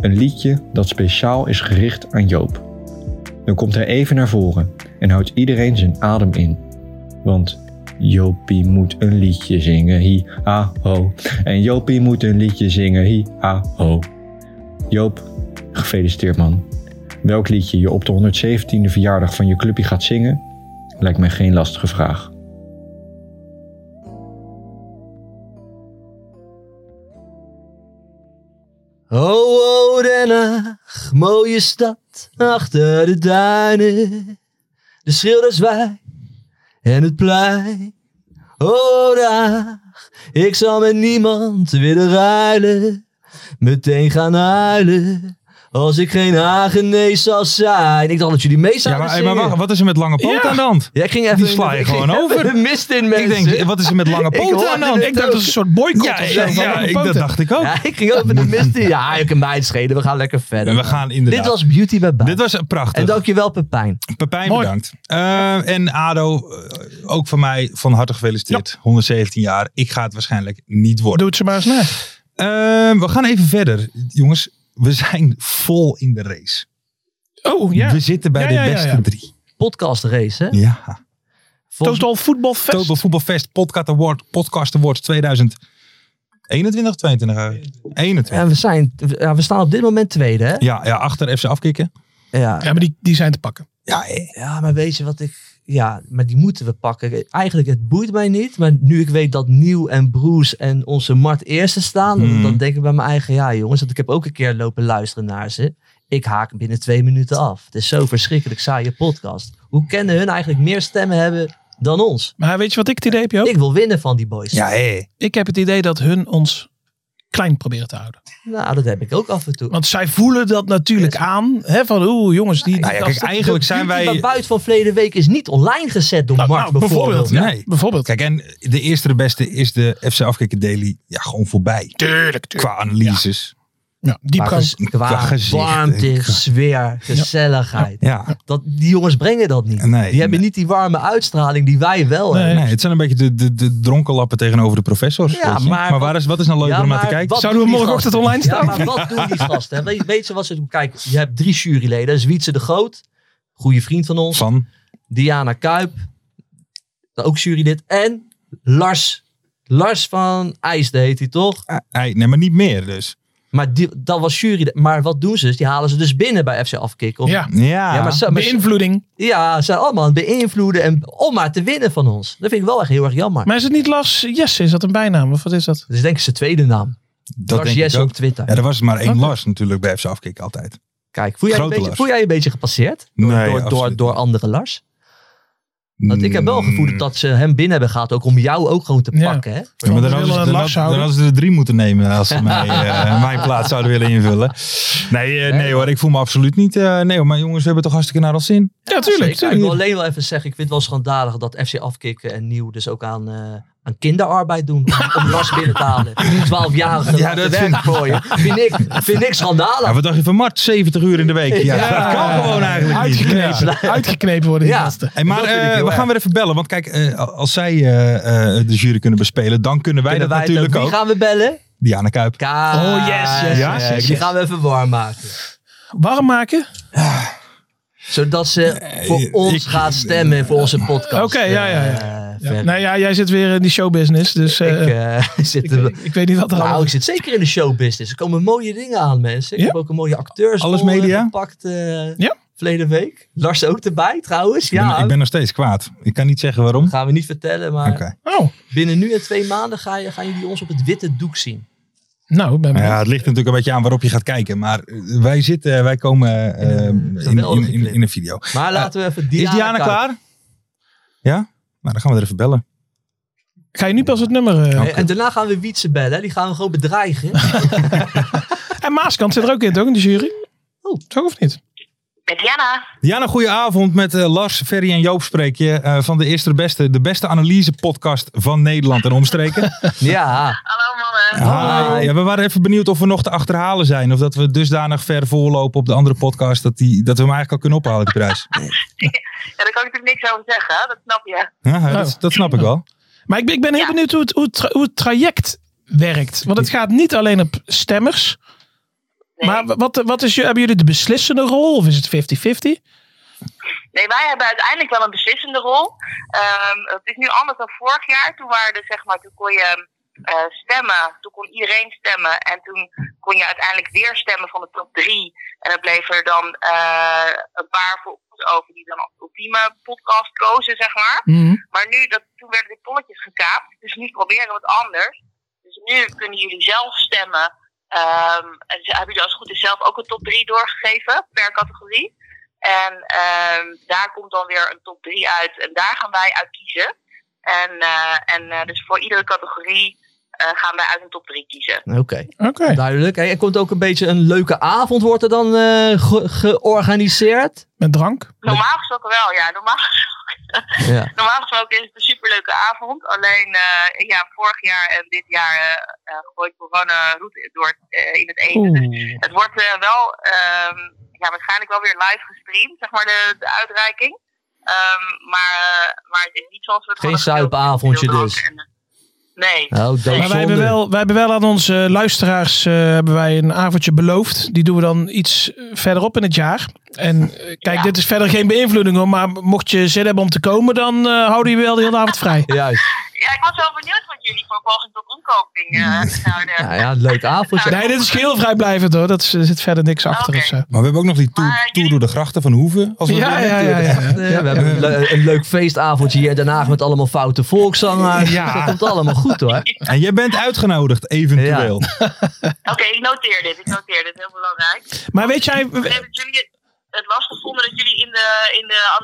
Een liedje dat speciaal is gericht aan Joop. Dan komt hij even naar voren en houdt iedereen zijn adem in. Want Jopie moet een liedje zingen, hi ha ho. En Jopie moet een liedje zingen, hi ha ho. Joop, gefeliciteerd man. Welk liedje je op de 117e verjaardag van je clubje gaat zingen, lijkt mij geen lastige vraag. Ho, ho, Den Haag, oh, mooie stad achter de duinen. De schilderswei en het plein. Ho, Den Haag, ik zal met niemand willen ruilen. Meteen gaan huilen, als ik geen Hagenees zal zijn. Ik dacht dat jullie mee ja, zouden maar, maar wacht, zingen. wat is er met lange poot Ja. aan de hand? Ja, ik ging even Die sla je *laughs* ik ging gewoon even over. De mist in, Ik mensen. denk, wat is er met lange poot hoorde aan de het hand? Ik dacht dat is een soort boycott Ja, of ja, zo. van ja, lange ik- dat poten. dacht ik ook. Ja, ik ging *laughs* over de mist in. Ja, ik kan mij het schelen. We gaan lekker verder. En we gaan inderdaad. Dit was Beauty bij Baan. Dit was prachtig. En dankjewel Pepijn. Pepijn, Mooi. bedankt. Eh, en Ado, eh, ook van mij van harte gefeliciteerd. 117 jaar. Ik ga het waarschijnlijk niet worden. Doe het ze maar eens na. Eh, we gaan even verder. Jongens, we zijn vol in de race. Oh ja. We zitten bij Ja, de ja, ja, beste ja. drie. Podcast race, hè? Ja. Volgens- Total Voetbalfest. Total Voetbalfest Podcast Award, Podcast Awards 2000. 21 of 22 eigenlijk? 21. En we, zijn, ja, we staan op dit moment tweede, hè? Ja, ja, achter FC afkikken. Ja. Ja, maar die, die zijn te pakken. Ja, ja, maar weet je wat ik... Ja, maar die moeten we pakken. Eigenlijk, het boeit mij niet. Maar nu ik weet dat Nieuw en Bruce en onze Mart eerste staan... dan- Mhm. Dan denk ik bij mijn eigen... Ja, jongens, want ik heb ook een keer lopen luisteren naar ze. Ik haak binnen twee minuten af. Het is zo verschrikkelijk saaie podcast. Hoe kennen hun eigenlijk meer stemmen hebben dan ons? Maar weet je wat ik het idee heb, Joop? Ik wil winnen van die boys. hé. Ik heb het idee dat hun ons klein proberen te houden. Nou, dat heb ik ook af en toe. Want zij voelen dat natuurlijk aan. Hè, van, oeh, jongens, die... Nou ja, dat- kijk, eigenlijk zijn Maar wij... buiten van verleden week is niet online gezet door Nou, Mark nou, bijvoorbeeld. bijvoorbeeld. Nee. Bijvoorbeeld. Kijk, en de eerste de beste is de FC Afkikken Daily ja, gewoon voorbij. tuurlijk, Qua analyses. Ja, diep Maar ges- Qua qua gezicht, warmte, eh, qua- sfeer, gezelligheid. Ja. Dat, die jongens brengen dat niet. Nee, die hebben nee. niet die warme uitstraling die wij wel Nee. hebben. Nee, het zijn een beetje de, de, de dronken lappen tegenover de professors. Ja, weet je. maar- maar waar is, wat is nou leuk om naar te maar kijken? wat Zouden we doen die morgenochtend gasten? online staan? Ja, maar wat doen die gasten? hè? Weet, weet je wat ze doen? Kijk, je hebt drie juryleden. Zwietse de Groot, goede vriend van ons. Van, Diana Kuip, ook jurylid. En Lars. Lars van IJsde heet hij toch? eh, ei, nee, maar niet meer dus. Maar die, dat was jury. Maar wat doen ze? Dus Die halen ze dus binnen bij FC Afkikken. om- Ja, Ja, Ja, maar, ze- maar ze- beïnvloeding. ja, ze zijn allemaal aan het beïnvloeden en, om maar te winnen van ons. Dat vind ik wel echt heel erg jammer. Maar is het niet Lars Jesse? Is dat een bijnaam? Of wat *laughs* is dat? Dat is denk ik zijn tweede naam. dat Lars denk Jess ik ook. op Twitter. Ja, er was maar één Oké. Lars natuurlijk bij FC Afkikken altijd. Kijk, voel jij, je een Grote beetje, Lars. voel jij je een beetje gepasseerd? Nee, door, door, absoluut door niet. andere Lars? Want ik heb wel Mm. gevoeld dat ze hem binnen hebben gehad. Ook om jou ook gewoon te Ja. pakken. Hè? Ja, maar dan We hadden, ze, willen dan, Lars had- dan houden. hadden ze er drie moeten nemen als *laughs* ze mij, eh, mijn plaats zouden willen invullen. Nee, eh, nee hoor, ik voel me absoluut niet. eh, nee hoor, maar jongens, we hebben toch hartstikke naar ons zin. Ja, tuurlijk. Zeker. Ik wil tuurlijk. alleen wel even zeggen. Ik vind het wel schandalig dat FC Afkikken en Nieuw dus ook aan... eh, aan kinderarbeid *laughs* doen om, om Lars binnen te halen. 12-jarige Ja, ja, dat dat werk voor je. Vind ik, vind ik schandalig. Ja, wat dacht je van Mart? 70 uur in de *laughs* week. Ja, Ja. dat kan gewoon eigenlijk niet. Ja. Uitgeknepen. Uitgeknepen worden die Ja. gasten. Hey, maar Dat vind ik eh, heel we erg. gaan weer even bellen. Want kijk, eh, als zij eh, eh, de jury kunnen bespelen, dan kunnen wij Kunnen dat wij het natuurlijk ook- ook. Wie gaan we bellen? Diana Kuip. Kaas. Oh, yes, yes, Ja, yes, kijk, yes, Die yes. gaan we even warm maken. Warm maken? Zodat ze voor eh, ons ik- gaat stemmen voor onze podcast. Oké, ja, ja, ja. Eh, Ja. Ferry. Nou ja, jij zit weer in die showbusiness. Dus eh, Ik ik, eh, *laughs* zit er... ik, weet niet wat er Nou, allemaal ik zit zeker in de showbusiness. Er komen mooie dingen aan, mensen. Ik Ja? heb ook een mooie acteurs Alles media? gepakt eh, Ja? verleden week. Lars ook erbij, trouwens. Ik ben- Ja, ik ben nog steeds kwaad. Ik kan niet zeggen waarom. gaan we niet vertellen, maar Oké. Oh, binnen nu en twee maanden ga je, gaan jullie ons op het witte doek zien. nou, ik ben Nou benieuwd. Ja, het ligt natuurlijk een beetje aan waarop je gaat kijken. Maar eh, wij zitten, wij komen eh, in, in, geweldige in, in een video. Maar laten we even Diana, Is Diana kijken. klaar? Ja? Nou, dan gaan we er even bellen. Ga je nu pas het nummer... eh, Ja. En daarna gaan we Wietse bellen. Die gaan we gewoon bedreigen. En Maaskant zit er ook in, toch? In de jury? Oh. Toch of niet? Met Jana. Diana, goedenavond. Met eh, Lars, Ferry en Joop spreek je eh, van de Eerste de Beste. De beste analyse podcast van Nederland en omstreken. ja. Hallo mannen. Hi. Ah, Ja, we waren even benieuwd of we nog te achterhalen zijn. Of dat we dusdanig ver voorlopen op de andere podcast. Dat, die, dat we hem eigenlijk al kunnen ophalen, die *laughs* prijs. Ja, daar kan ik natuurlijk niks over zeggen, hè? dat snap je. Ja, Oh. dat, dat snap ik wel. Maar ik ben, ik ben heel Ja. benieuwd hoe het, hoe, het tra- hoe het traject werkt. Want het gaat niet alleen op stemmers. Nee. Maar wa- wat, wat is, je- hebben jullie de beslissende rol? Of is het 50-50? Nee, wij hebben uiteindelijk wel een beslissende rol. Ehm, het is nu anders dan vorig jaar. Toen, waren er, zeg maar, toen kon je eh, stemmen, toen kon iedereen stemmen. En toen kon je uiteindelijk weer stemmen van de top drie. En dat bleef er dan eh, een paar voor ons over die dan als ultieme podcast kozen, zeg maar. Maar nu, dat, toen werden de polletjes gekaapt. Dus nu proberen we wat anders. Dus nu kunnen jullie zelf stemmen. Ehm, en ze hebben jullie als het goed is zelf ook een top 3 doorgegeven per categorie. En ehm, daar komt dan weer een top 3 uit. En daar gaan wij uit kiezen. En, eh, en eh, dus voor iedere categorie eh, gaan wij uit een top 3 kiezen. Oké, Oké. duidelijk. Hey, er komt ook een beetje een leuke avond, wordt er dan eh, ge- georganiseerd? Met drank? Normaal gesproken wel, ja. Normaal Ja. Normaal gesproken is het een superleuke avond. Alleen eh, ja, vorig jaar en dit jaar eh, eh, gooit corona roet door eh, in het eten. Dus Oeh. het wordt eh, wel ehm, ja, waarschijnlijk wel weer live gestreamd, zeg maar, de, de uitreiking. Ehm, maar, eh, maar het is niet zoals we het Geen hadden gewild. zuipavondje Heel dus. dronken. Nee. Nou, dat Maar Maar wij zonde. hebben, wel, wij hebben wel aan onze luisteraars eh, hebben wij een avondje beloofd. Die doen we dan iets eh, verderop in het jaar. En eh, kijk, Ja. dit is verder geen beïnvloeding hoor. Maar mocht je zin hebben om te komen, dan eh, houden we je wel de hele avond vrij. Juist. Ja, ik was wel benieuwd wat jullie voor poging tot omkoping eh, zouden... Nou ja, leuk avondje. Nee, dit is geheel vrijblijvend hoor. Dat is- er zit verder niks achter Oké. of zo. Maar we hebben ook nog die tour, Maar tour door de grachten van Hoeven. Als we Ja, willen. ja, ja, ja. Eh, we hebben een, le- een leuk feestavondje hier in Den Haag met allemaal foute volkszangers. Ja. Dat komt allemaal goed *laughs* hoor. En jij bent uitgenodigd, eventueel. Oké, ik noteer dit. Ik noteer dit. Heel belangrijk. Maar weet jij, Ik heb dat jullie het was gevonden dat jullie in de, in de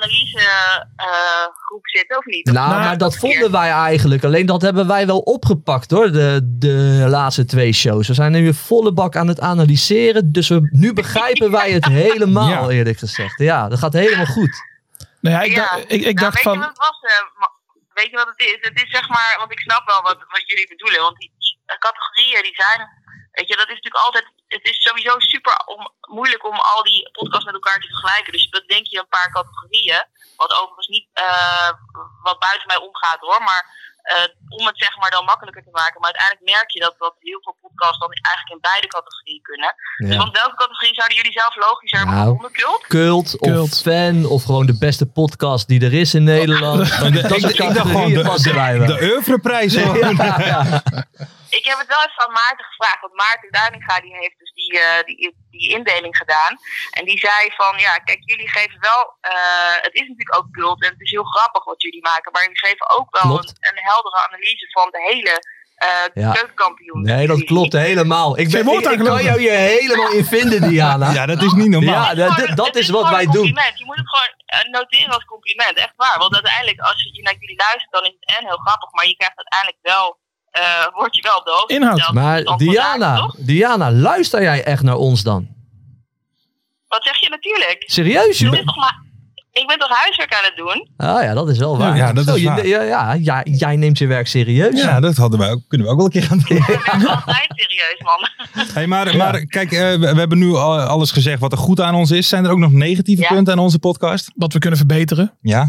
analysegroep zitten, of niet? Nou, Nou, maar dat vonden wij eigenlijk. Alleen dat hebben wij wel opgepakt hoor, de, de laatste twee shows. We zijn nu weer volle bak aan het analyseren. Dus we, nu begrijpen wij *laughs* het helemaal, eerlijk gezegd. Ja, dat gaat helemaal goed. nou ja, ik, Ja. dacht- ik, ik Nou, dacht weet Je van, wat het was, eh, Ma- weet je wat het is? Het is zeg maar, want ik snap wel wat, wat jullie bedoelen. Want die, die categorieën die zijn, weet je, dat is natuurlijk altijd. Het is sowieso super om, moeilijk om al die podcasts met elkaar te vergelijken. Dus dat denk je een paar categorieën. Wat overigens niet eh, wat buiten mij omgaat hoor. Maar eh, om het zeg maar dan makkelijker te maken. Maar uiteindelijk merk je dat, dat heel veel podcasts dan eigenlijk in beide categorieën kunnen. Dus Ja. want welke categorie zouden jullie zelf logischer hebben Nou. gevonden? Cult? Cult of Cult. fan of gewoon de beste podcast die er is in *laughs* Nederland. Dat ik, soort ik dacht gewoon categorieën de, passen wij de, *laughs* wel. oeuvreprijs. gewoon. Ik heb het wel even aan Maarten gevraagd. Want Maarten Duininga die heeft dus die, eh, die, die indeling gedaan. En die zei van, ja, kijk, jullie geven wel... eh, het is natuurlijk ook cult en het is heel grappig wat jullie maken. Maar jullie geven ook wel Klopt. een, een heldere analyse van de hele eh Ja. keukenkampioen. Nee, dat klopt helemaal. Ik, Geen ben, woord ik, aan ik kan geloven. jou hier helemaal in vinden, Diana. *laughs* Ja, dat is niet normaal. Ja, dat- dat- dat is wat wij doen. Je moet het gewoon eh, noteren als compliment, echt waar. Want uiteindelijk, als je naar jullie luistert, dan is het en heel grappig. Maar je krijgt uiteindelijk wel... eh word je wel op de hoogte Inhoud. gesteld. Maar Dan vandaag, Diana, toch? Diana, luister jij echt naar ons dan? Wat zeg je natuurlijk? Serieus, Ik joh? ben toch maar... Ik ben toch huiswerk aan het doen? Ah ja, dat is wel waar. ja, dat is Zo, je- waar. Ja, ja, ja, jij neemt je werk serieus. Ja, dat hadden wij ook, kunnen we ook wel een keer gaan doen. Ik ben altijd serieus, man. Hey, maar, maar kijk, eh, we, we hebben nu al- alles gezegd wat er goed aan ons is. Zijn er ook nog negatieve Ja. punten aan onze podcast? wat we kunnen verbeteren. Ja.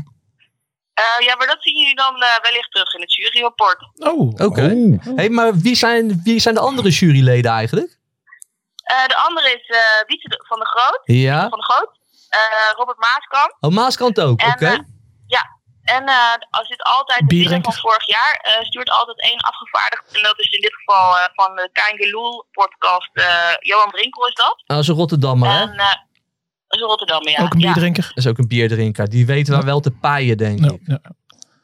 Eh, ja, maar dat zien jullie dan eh, wellicht terug in het juryrapport. Oh, Oké. Hey, maar wie zijn, wie zijn de andere juryleden eigenlijk? Eh, de andere is eh Wietse de- van de Groot. Ja. Van de Groot. Eh, Robert Maaskamp. Oh, Maaskant ook. Oké. Nou, En, eh, ja. En eh, als dit altijd de winnaar Bierrenker. van vorig jaar eh, stuurt altijd één afgevaardigd. En dat is in dit geval eh, van de Kangeloel podcast. eh, Johan Brinkel is dat. Ah, zo'n Rotterdammer, hè? En eh, dat is een Rotterdam, ja. ook een ja. bierdrinker. Dat is ook een bierdrinker. Die weten we wel te paaien, denk Ja. ik. Ja.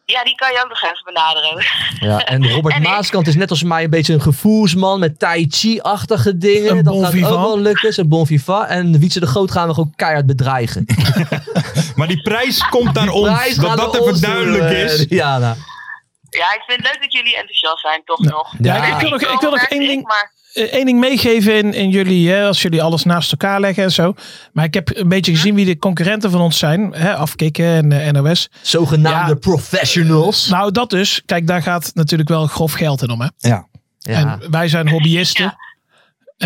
ja, die kan je ook nog even benaderen. Ja, en Robert En ik- Maaskant is net als mij een beetje een gevoelsman met tai chi-achtige dingen. Een dat bon gaat vivant. ook wel lukken. Een bon vivant. En Wietse de Groot gaan we gewoon keihard bedreigen. Maar die prijs komt *laughs* naar ons. Prijs Dat gaat dat naar even ons toe, duidelijk eh, *laughs* is. Diana. Ja, ik vind het leuk dat jullie enthousiast zijn, toch nog. Ja, Eh, ik wil nog- ik wil nog Robert, één ding- ik, Maar Eén ding meegeven in, in jullie, hè, als jullie alles naast elkaar leggen en zo. Maar ik heb een beetje gezien wie de concurrenten van ons zijn. Hè, afkikken en eh, NOS. Zogenaamde Ja. professionals. Nou, dat dus. Kijk, daar gaat natuurlijk wel grof geld in om. Hè? Ja. Ja. En wij zijn hobbyisten. Ja.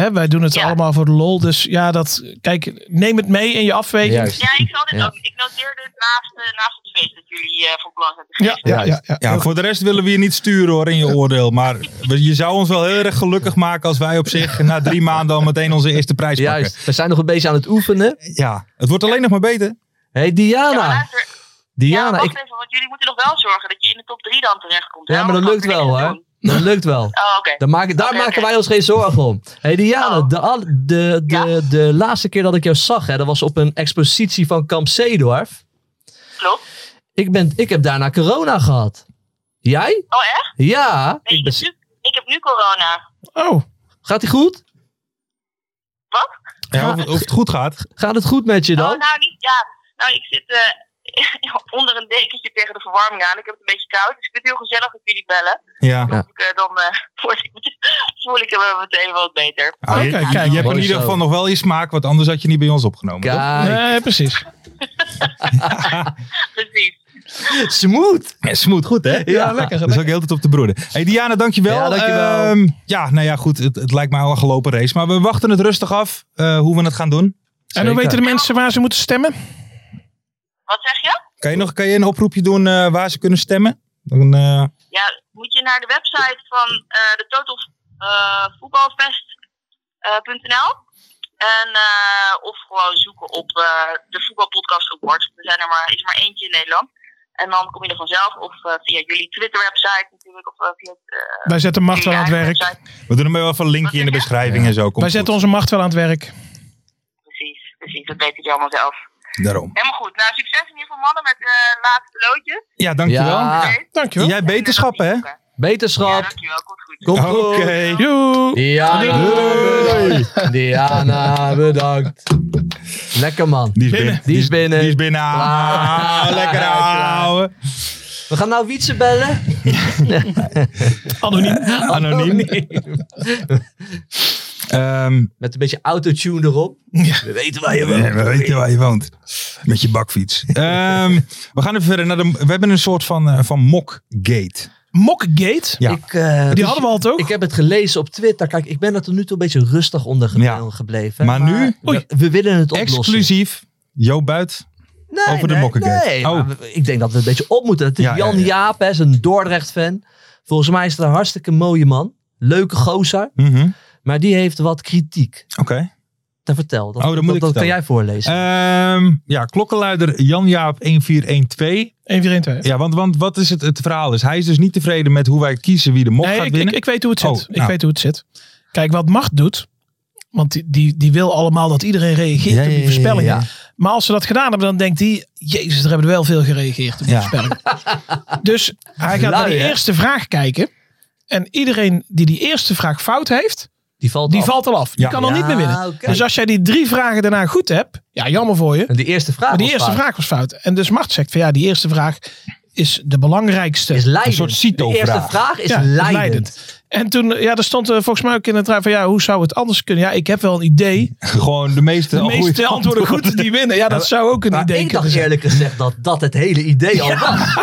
Hè, wij doen het Ja. allemaal voor de lol. Dus ja, dat, kijk, neem het mee in je afweging. Juist. Ja, ik zal dit Ja. ook. Ik noteer dit naast, eh, naast het feest dat jullie eh, van plan zijn te Ja, geven. ja, ja, ja. Ja, voor de rest willen we je niet sturen hoor in je oordeel. Maar we- je zou ons wel heel erg gelukkig maken als wij op zich na drie maanden al meteen onze eerste prijs pakken. Juist. We zijn nog een beetje aan het oefenen. Ja, het wordt alleen nog maar beter. hey, Ja, maar Diana. luister, ja, Diana, wacht nou. ik, even, want jullie moeten nog wel zorgen dat je in de top 3 dan terechtkomt. hè, ja, maar dat want lukt anders gaan wel, we hè? niks Dat lukt wel. doen. Oh, oké. Daar, maken- daar Oké, maken oké. wij ons geen zorgen om. hey, Diana, Oh. de, al- de, de, Ja. de laatste keer dat ik jou zag, hè, dat was op een expositie van Kamp Zeedorf. Klopt. Ik, ben, ik heb daarna corona gehad. Jij? Oh, echt? Ja. Ik Nee, ik, ben, heb nu, ik heb nu corona. Oh, gaat die goed? Wat? Ja, of, of het goed gaat. Gaat het goed met je dan? Oh, nou, niet, ja. Nou, ik zit eh, *laughs* onder een dekentje tegen de verwarming aan. Ik heb het een beetje koud, dus ik vind het heel gezellig dat jullie bellen. Ja. Ja. Ik, eh, dan eh, *laughs* word ik- voel ik me meteen wel wat beter. Ah, je, Oké, je- kijk, je hebt mooi in ieder zo. geval nog wel je smaak, want anders had je niet bij ons opgenomen. toch? Kijk, nee, Eh, precies. Precies. smooth. Ja, Smooth, goed hè? Ja, lekker. Dat is ook heel tijd op te broeden. Hey Diana, dankjewel. Ja, dankjewel. Ehm, ja, nou ja, goed. Het, het lijkt mij al een gelopen race. Maar we wachten het rustig af eh, hoe we het gaan doen. En hoe Zeker. weten de mensen waar ze moeten stemmen? Wat zeg je? Kan je nog kan je een oproepje doen eh, waar ze kunnen stemmen? Dan, eh, Ja, moet je naar de website van eh, de Total eh, Voetbalfest.nl. en, eh, of gewoon zoeken op eh, de Voetbalpodcast Awards. Er zijn er maar, is er maar eentje in Nederland. Eh, En dan kom je er vanzelf of eh, via jullie Twitter-website natuurlijk. Of eh, via het, eh, Wij zetten macht wel aan het jullie werk. eigen website. We doen hem wel even een linkje in de beschrijving en zo. Komt Wij zetten goed. onze macht wel aan het werk. Precies, precies. Dat weten jullie allemaal zelf. Daarom. Helemaal goed. Nou, succes in ieder geval mannen met eh laatste loodjes. Ja, dankjewel. Ja. Ja. Dankjewel. Jij Wetenschappen, wetenschappen, hè? Beterschap. Ja, dankjewel. Komt goed. Komt Oké. goed. Joe. Diana, bedankt. Diana, bedankt. Lekker man. Die is Binnen. binnen. Die is binnen. Die is binnen. Ah, Klaar. lekker Klaar. houden. We gaan nou Wietse bellen. Anoniem. Anoniem. Ehm, Met een beetje autotune erop. We weten waar je woont. ja, Ah, we weten waar je woont. Met je bakfiets. Ehm, we gaan even verder naar de... We hebben een soort van, eh, van mockgate. Mockgate. Ja. Ik, eh, Die hadden we al toch? ik heb het gelezen op Twitter. Kijk, ik ben er tot nu toe een beetje rustig onder ge- Ja. gebleven. Maar nu? We, we willen het oplossen. Exclusief. Jo Buit. Nee, Over de nee, Mokkegate. Nee, Oh. maar we- ik denk dat we een beetje op moeten. Het is Ja, ja, Jan ja. Jaap, hè, is een Dordrecht-fan. Volgens mij is het een hartstikke mooie man. Leuke gozer. Mhm. Maar die heeft wat kritiek Oké. te vertellen. Dat, Oh, dat moet ik kan vertellen. jij voorlezen. Ehm, ja, klokkenluider Jan-Jaap 1412. 1, 4, 1, 2. Ja, want, want wat is het, het verhaal? Is hij is dus niet tevreden met hoe wij kiezen wie de mok Nee, gaat ik, ik, winnen. ik weet hoe het zit. Oh, ik nou. weet hoe het zit. Kijk, wat macht doet. Want die, die, die wil allemaal dat iedereen reageert Ja, op ja, die ja, voorspellingen. ja. Maar als ze dat gedaan hebben, dan denkt hij... Jezus, er hebben er wel veel gereageerd op die Ja. *laughs* voorspellingen. Dus hij gaat Lui, naar die hè? eerste vraag kijken. En iedereen die die eerste vraag fout heeft, Die valt die af. valt al af. Die Ja. kan al niet Oh. Ja, meer winnen. oké. Dus als jij die drie vragen daarna goed hebt... Ja, jammer voor je. En die eerste vraag Maar die was eerste fout. vraag was fout. En dus Mart zegt van ja, die eerste vraag is de belangrijkste. is leidend. Een soort de eerste CITO-vraag. vraag is Ja, leidend. leidend. En toen, ja, er stond eh, volgens mij ook in het raam van ja, hoe zou het anders kunnen? Ja, ik heb wel een *laughs* idee. Gewoon de meeste, De meeste goede antwoorden goed die winnen. Ja, dat zou ook een Maar idee ik kunnen dacht zijn. eerlijk gezegd dat dat het hele idee al was.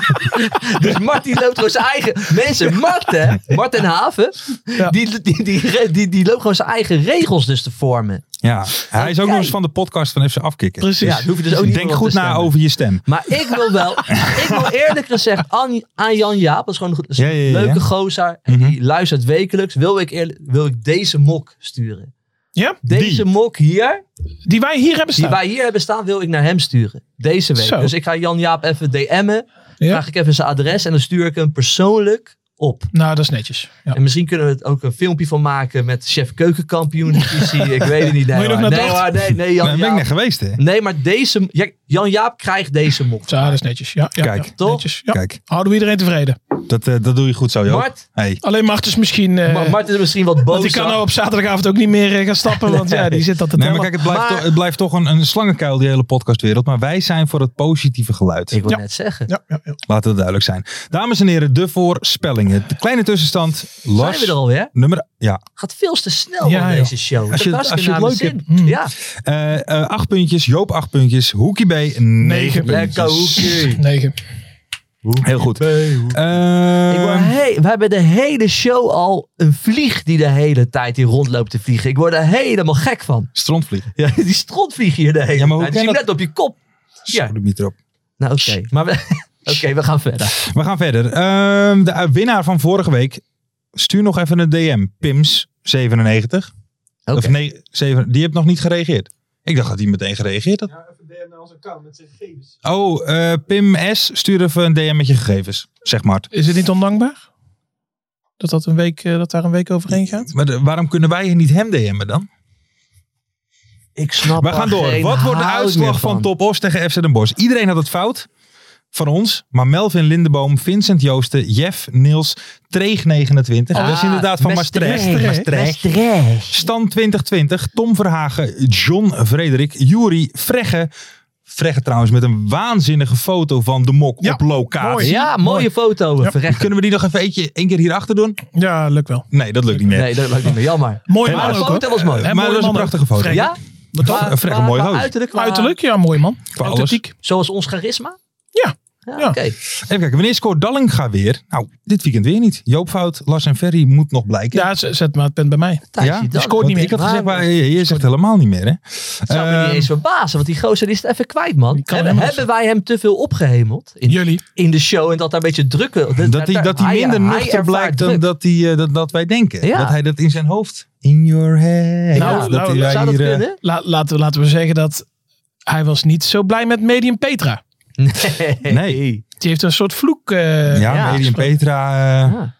dus Martin loopt gewoon zijn eigen... Mensen, Marten, Marten Haven, Ja. die, die, die, die, die loopt gewoon zijn eigen regels dus te vormen. Ja, hij is ook Oké. nog eens van de podcast van FC Afkikken. Precies. Ja, daar hoef je dus ook niet Denk meer op goed te na stemmen. over je stem. Maar ik wil wel, ik wil eerlijk gezegd aan, aan Jan Jaap, dat is gewoon een, goed, dat is een Ja, ja, ja, ja. leuke gozer, en die luistert wekelijks, wil ik, eerlijk- wil ik deze mok sturen. Ja, Deze mok hier, die wij hier hebben die staan. wij hier hebben staan, wil ik naar hem sturen. Deze week. Zo. Dus ik ga Jan Jaap even DM'en, Ja? vraag ik even zijn adres en dan stuur ik hem persoonlijk op. Nou, dat is netjes. Ja. En misschien kunnen we er ook een filmpje van maken met chef keukenkampioen. divisie. ik weet het niet. Nee, Moet je nog hoor. naar nee, Dordt? hoor, nee, nee, Jan Daar ben ik net Jaap. geweest, hè? Nee, maar deze, Ja, Jan Jaap krijgt deze mok. Zo, dat is netjes. Ja, ja, Kijk, ja, toch? netjes. Ja. Kijk, Houden we iedereen tevreden. dat, eh, dat doe je goed zo, joh. Mart? Hey. Alleen Mart is misschien... eh Maar Martin is misschien wat boos. want die kan nou op zaterdagavond ook niet meer eh, gaan stappen. Want ja, die zit dat *laughs* te Nee, maar tellen. kijk, het blijft, Maar- toch, het blijft toch een, een slangenkuil, die hele podcastwereld. Maar wij zijn voor het positieve geluid. Ik wil Ja. net zeggen. Ja, ja, ja. Laten we duidelijk zijn. Dames en heren, de voorspellingen. De kleine tussenstand. Lars, Zijn we er alweer? nummer... Ja. Gaat veel te snel Ja, in joh. deze show. Als je- Dat was als ik je het naar leuk mijn zin. hebt. Mm. Ja, Eh, eh, acht puntjes. Joop, acht puntjes. Hoekie B, negen lekker puntjes. *laughs* hoekie. Negen. Heel goed. Ik word Ehm, he- we hebben de hele show al een vlieg die de hele tijd hier rondloopt te vliegen. Ik word er helemaal gek van. *laughs* Strontvliegen. Ja, die strontvlieg hier de hele Ja, maar hoe tijd. Die kan zit net op je kop. Ja. Zo, de mieter op. Nou, oké. Maar we, *laughs* oké, we gaan verder. We gaan verder. Ehm, de eh, winnaar van vorige week. Stuur nog even een DM. Pims97. Oké. Of nee, zeven- die heeft nog niet gereageerd. Ik dacht dat hij meteen gereageerd had. Oh, eh, Pim S. Stuur even een DM met je gegevens. Zeg maar. Is het niet ondankbaar? Dat, dat, een week, eh, dat daar een week overheen gaat? Maar de- waarom kunnen wij niet hem DM'en dan? Ik snap We gaan er door. geen Wat wordt de hout uitslag meer van Top Os tegen FC Den Bosch? Iedereen had het fout. Van ons. Maar Melvin Lindeboom, Vincent Joosten, Jeff Niels, Treeg29. dat is Ah, inderdaad van Maastricht. Maastricht. Maastricht. Maastricht. Stan 2020, Tom Verhagen, John Frederik, Juri Vregge. Vregge trouwens met een waanzinnige foto van de mok Ja, op locatie. Ja, mooie foto. Verrecht. Kunnen we die nog even eentje, één keer hierachter doen? Ja, lukt wel. Nee, dat lukt niet meer. Nee, dat lukt niet meer. Jammer. Mooi Maar man de ook foto hoor. was mooi. En maar mooie dat is een man prachtige ook. foto. Ja? Wat toch? Maar- Een Vregge maar- mooi maar hoofd. Uiterlijk. maar- Uiterlijk, ja, mooi man. Qua alles. Authentiek. Zoals ons charisma? Ja. Ja, Ja. oké. Even kijken, wanneer scoort Dallinga weer? Nou, dit weekend weer niet. Joop Fout, Lars en Ferry moet nog blijken. Ja, z- zet maar het punt bij mij. Thijs, Ja? die Die dan. scoort niet meer. Ik had gezegd, maar je je zegt helemaal niet meer. Hè? Het zou me Ehm, niet eens verbazen, want die gozer die is het even kwijt, man. Die kan Hebben, helemaal hebben wij hem te veel opgehemeld in, Jullie. in de show en dat daar een beetje drukken? Dat hij, dat hij minder nuchter blijkt dan dat, hij, eh, dat, dat wij denken. Ja. Dat hij dat in zijn hoofd. In your head. Nou, dat nou, hij Zou dat hier, eh, kunnen? La- laten, we- laten we zeggen dat hij was niet zo blij met Medium Petra. Nee. Nee. Die heeft een soort vloek. eh, ja, ja, Medi en is goed. Petra. eh, Ja.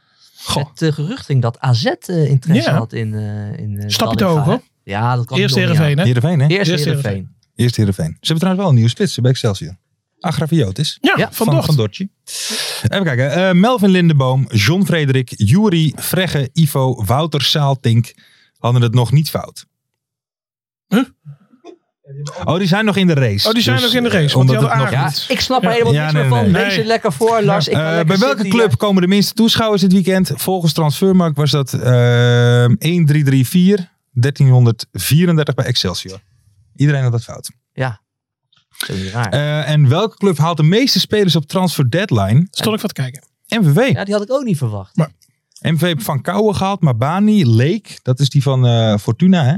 goh. Het eh, gerucht ging dat AZ eh, interesse Ja. had in... eh in eh, Stap het Dallinga, hoog, hè? hoor. Ja, dat kan Eerst ik nog niet Heerenveen, hè? Heerenveen, hè? aan. Eerst Eerst Heerenveen. Eerst Heerenveen. Ze hebben trouwens wel een nieuwe spits bij Excelsior. Agraviotis. Ja, van Dort. Van Dortje. Even kijken. eh, Melvin Lindeboom, John Frederik, Juri, Fregge, Ivo, Wouter, Saaltink hadden het nog niet fout. Huh? Oh, die zijn nog in de race. Oh, die zijn nog in de race, eh, want omdat die hadden het nog Ja, Goed. ik snap er Ja. helemaal Ja, niks nee, meer van. nee. Lees Nee. het lekker voor, Lars. Ik kan Eh, lekker bij welke zitten club hier. komen de minste toeschouwers dit weekend? Volgens Transfermarkt was dat eh 1334, 1334 bij Excelsior. Iedereen had dat fout. Ja. Zo niet raar. Eh, en welke club haalt de meeste spelers op transfer deadline? Stond ik wat te kijken. MVV. ja, die had ik ook niet verwacht. MV heeft Van Kouwen gehaald, Mabani, Leek. Dat is die van eh, Fortuna, hè?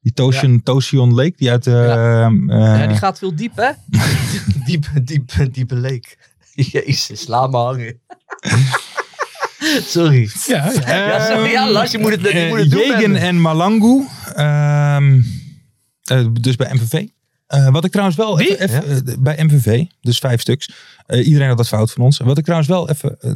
Die Toshion, Toshion Leek, die uit... eh, ehm, ja, die eh, *laughs* gaat veel diep, hè? diepe, diepe, diepe leek. *laughs* Jezus, laat me hangen. *laughs* Sorry. Ja, ja. Ja, sorry, ja, Lars, je moet het, je eh, moet het doen. Jegen Bender. en Malangu. ehm, eh, dus bij MVV. Eh, wat ik trouwens wel even, even, eh, bij MVV, dus vijf stuks. Eh, iedereen had dat fout van ons. Wat ik trouwens wel even, eh,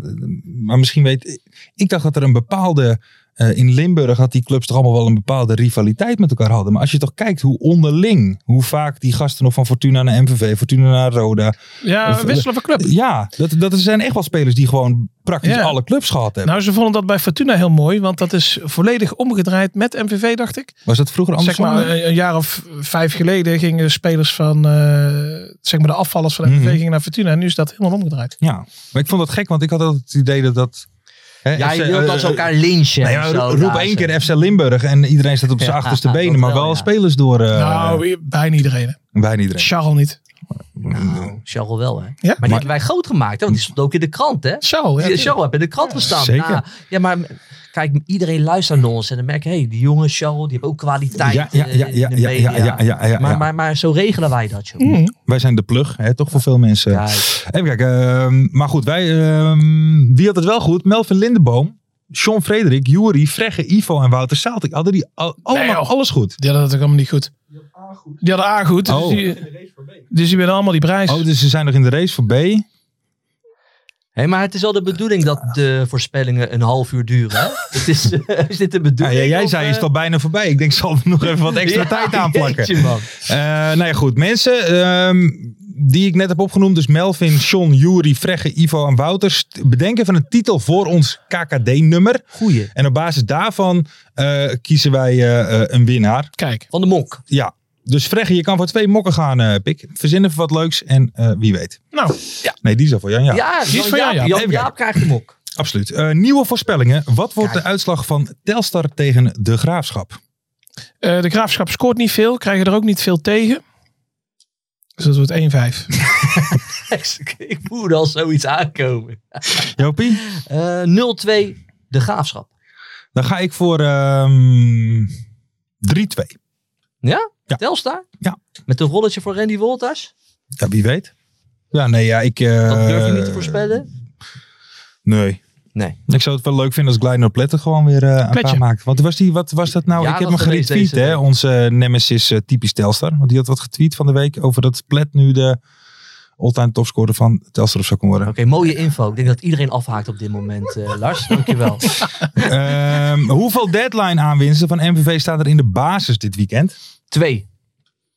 maar misschien weet. Ik dacht dat er een bepaalde. eh, in Limburg had die clubs toch allemaal wel een bepaalde rivaliteit met elkaar hadden. Maar als je toch kijkt hoe onderling, hoe vaak die gasten nog van Fortuna naar MVV, Fortuna naar Roda. ja Of- wisselen van club. Ja, dat, dat zijn echt wel spelers die gewoon praktisch Ja. alle clubs gehad hebben. Nou, ze vonden dat bij Fortuna heel mooi, want dat is volledig omgedraaid met MVV, dacht ik. Was dat vroeger anders? Zeg maar, een een jaar of vijf geleden gingen spelers van, eh, zeg maar, de afvallers van MVV Mhm. gingen naar Fortuna. En nu is dat helemaal omgedraaid. Ja, maar ik vond dat gek, want ik had altijd het idee dat dat... hè, Ja, je FC, wilt dat ze eh, elkaar lynchen. nou en ja, zo, ro- roep daar één zo. keer FC Limburg en iedereen staat op zijn Ja, achterste *laughs* dat benen, maar wel, wel ja. spelers door... eh nou, i- bijna iedereen. bijna iedereen. Charles niet. Nou, Charles wel, hè? Ja? Maar die hebben wij groot gemaakt, hè? Want die stond ook in de krant, hè? Charles, ja. Die- Charles heb in de krant gestaan. zeker. Nou, ja, maar kijk, iedereen luistert naar ons en dan merk je, hey, die jonge Charles, die hebben ook kwaliteit Ja, ja, eh, ja, ja, in de ja, ja, media. ja, ja, ja. Mm. Maar, maar, maar zo regelen wij dat, joh. Mhm. Wij zijn de plug, hè, toch voor veel mensen. Kijk. Even kijken, ehm, maar goed, wij, ehm, wie had het wel goed? Melvin Lindeboom, Sean Frederik, Jury, Fregge, Ivo en Wouter Saaltik. Hadden die al, allemaal joh. alles goed? Die hadden dat ook allemaal niet goed. Die hadden A goed. Oh. Dus, die, dus die winnen allemaal die prijs. Oh, dus ze zijn nog in de race voor B. Hé, maar het is wel de bedoeling dat de voorspellingen een half uur duren. Hè? *laughs* Het is, eh, is dit de Ah, Ja, bedoeling? ja, jij of, zei, eh, is het al bijna voorbij? Ik denk, *laughs* ik zal er nog even wat extra ja, *laughs* tijd aan plakken. jeetje, man. Eh, nou ja, goed. Mensen ehm, die ik net heb opgenoemd, dus Melvin, Sean, Jury, Fregge, Ivo en Wouters, t- bedenken van een titel voor ons KKD-nummer. Goeie. En op basis daarvan eh, kiezen wij eh, eh, een winnaar. Kijk, Van de Monk. Ja. Dus Fregge, je kan voor twee mokken gaan, eh, Pik. Verzin even wat leuks en eh, wie weet. nou, Nee, die is al voor Jan. Ja, Ja, die is Jan van jou, Jaap, Jaap. Jan Even Jaap krijgt de Monk. absoluut. Eh, nieuwe voorspellingen. Wat wordt Kijk. de uitslag van Telstar tegen De Graafschap? eh, de graafschap scoort niet veel. Krijgen er ook niet veel tegen. Dus dat wordt 1-5. *laughs* Ik voelde al zoiets aankomen. Jopie? Eh 0-2, de graafschap. Dan ga ik voor ehm 3-2. Ja? Ja. Telstar? Ja. Met een rolletje voor Randy Wolters? Ja, wie weet. Ja, nee, ja, ik... eh, Dat durf je niet te voorspellen? Nee. Nee. Ik zou het wel leuk vinden als Gleiner Pletten gewoon weer eh, een Pletje. paar maakt. Want was die, wat was dat nou? Ja, ik heb hem dat geweest geretweet, deze hè. week. Onze nemesis eh, typisch Telstar. Want die had wat getweet van de week over dat Plet nu de all-time topscorer van Telstar of zo kan worden. Oké, mooie info. Ik denk dat iedereen afhaakt op dit moment, eh, *laughs* Lars. Dankjewel. Ehm, hoeveel deadline aanwinsten van MVV staan er in de basis dit weekend? Twee.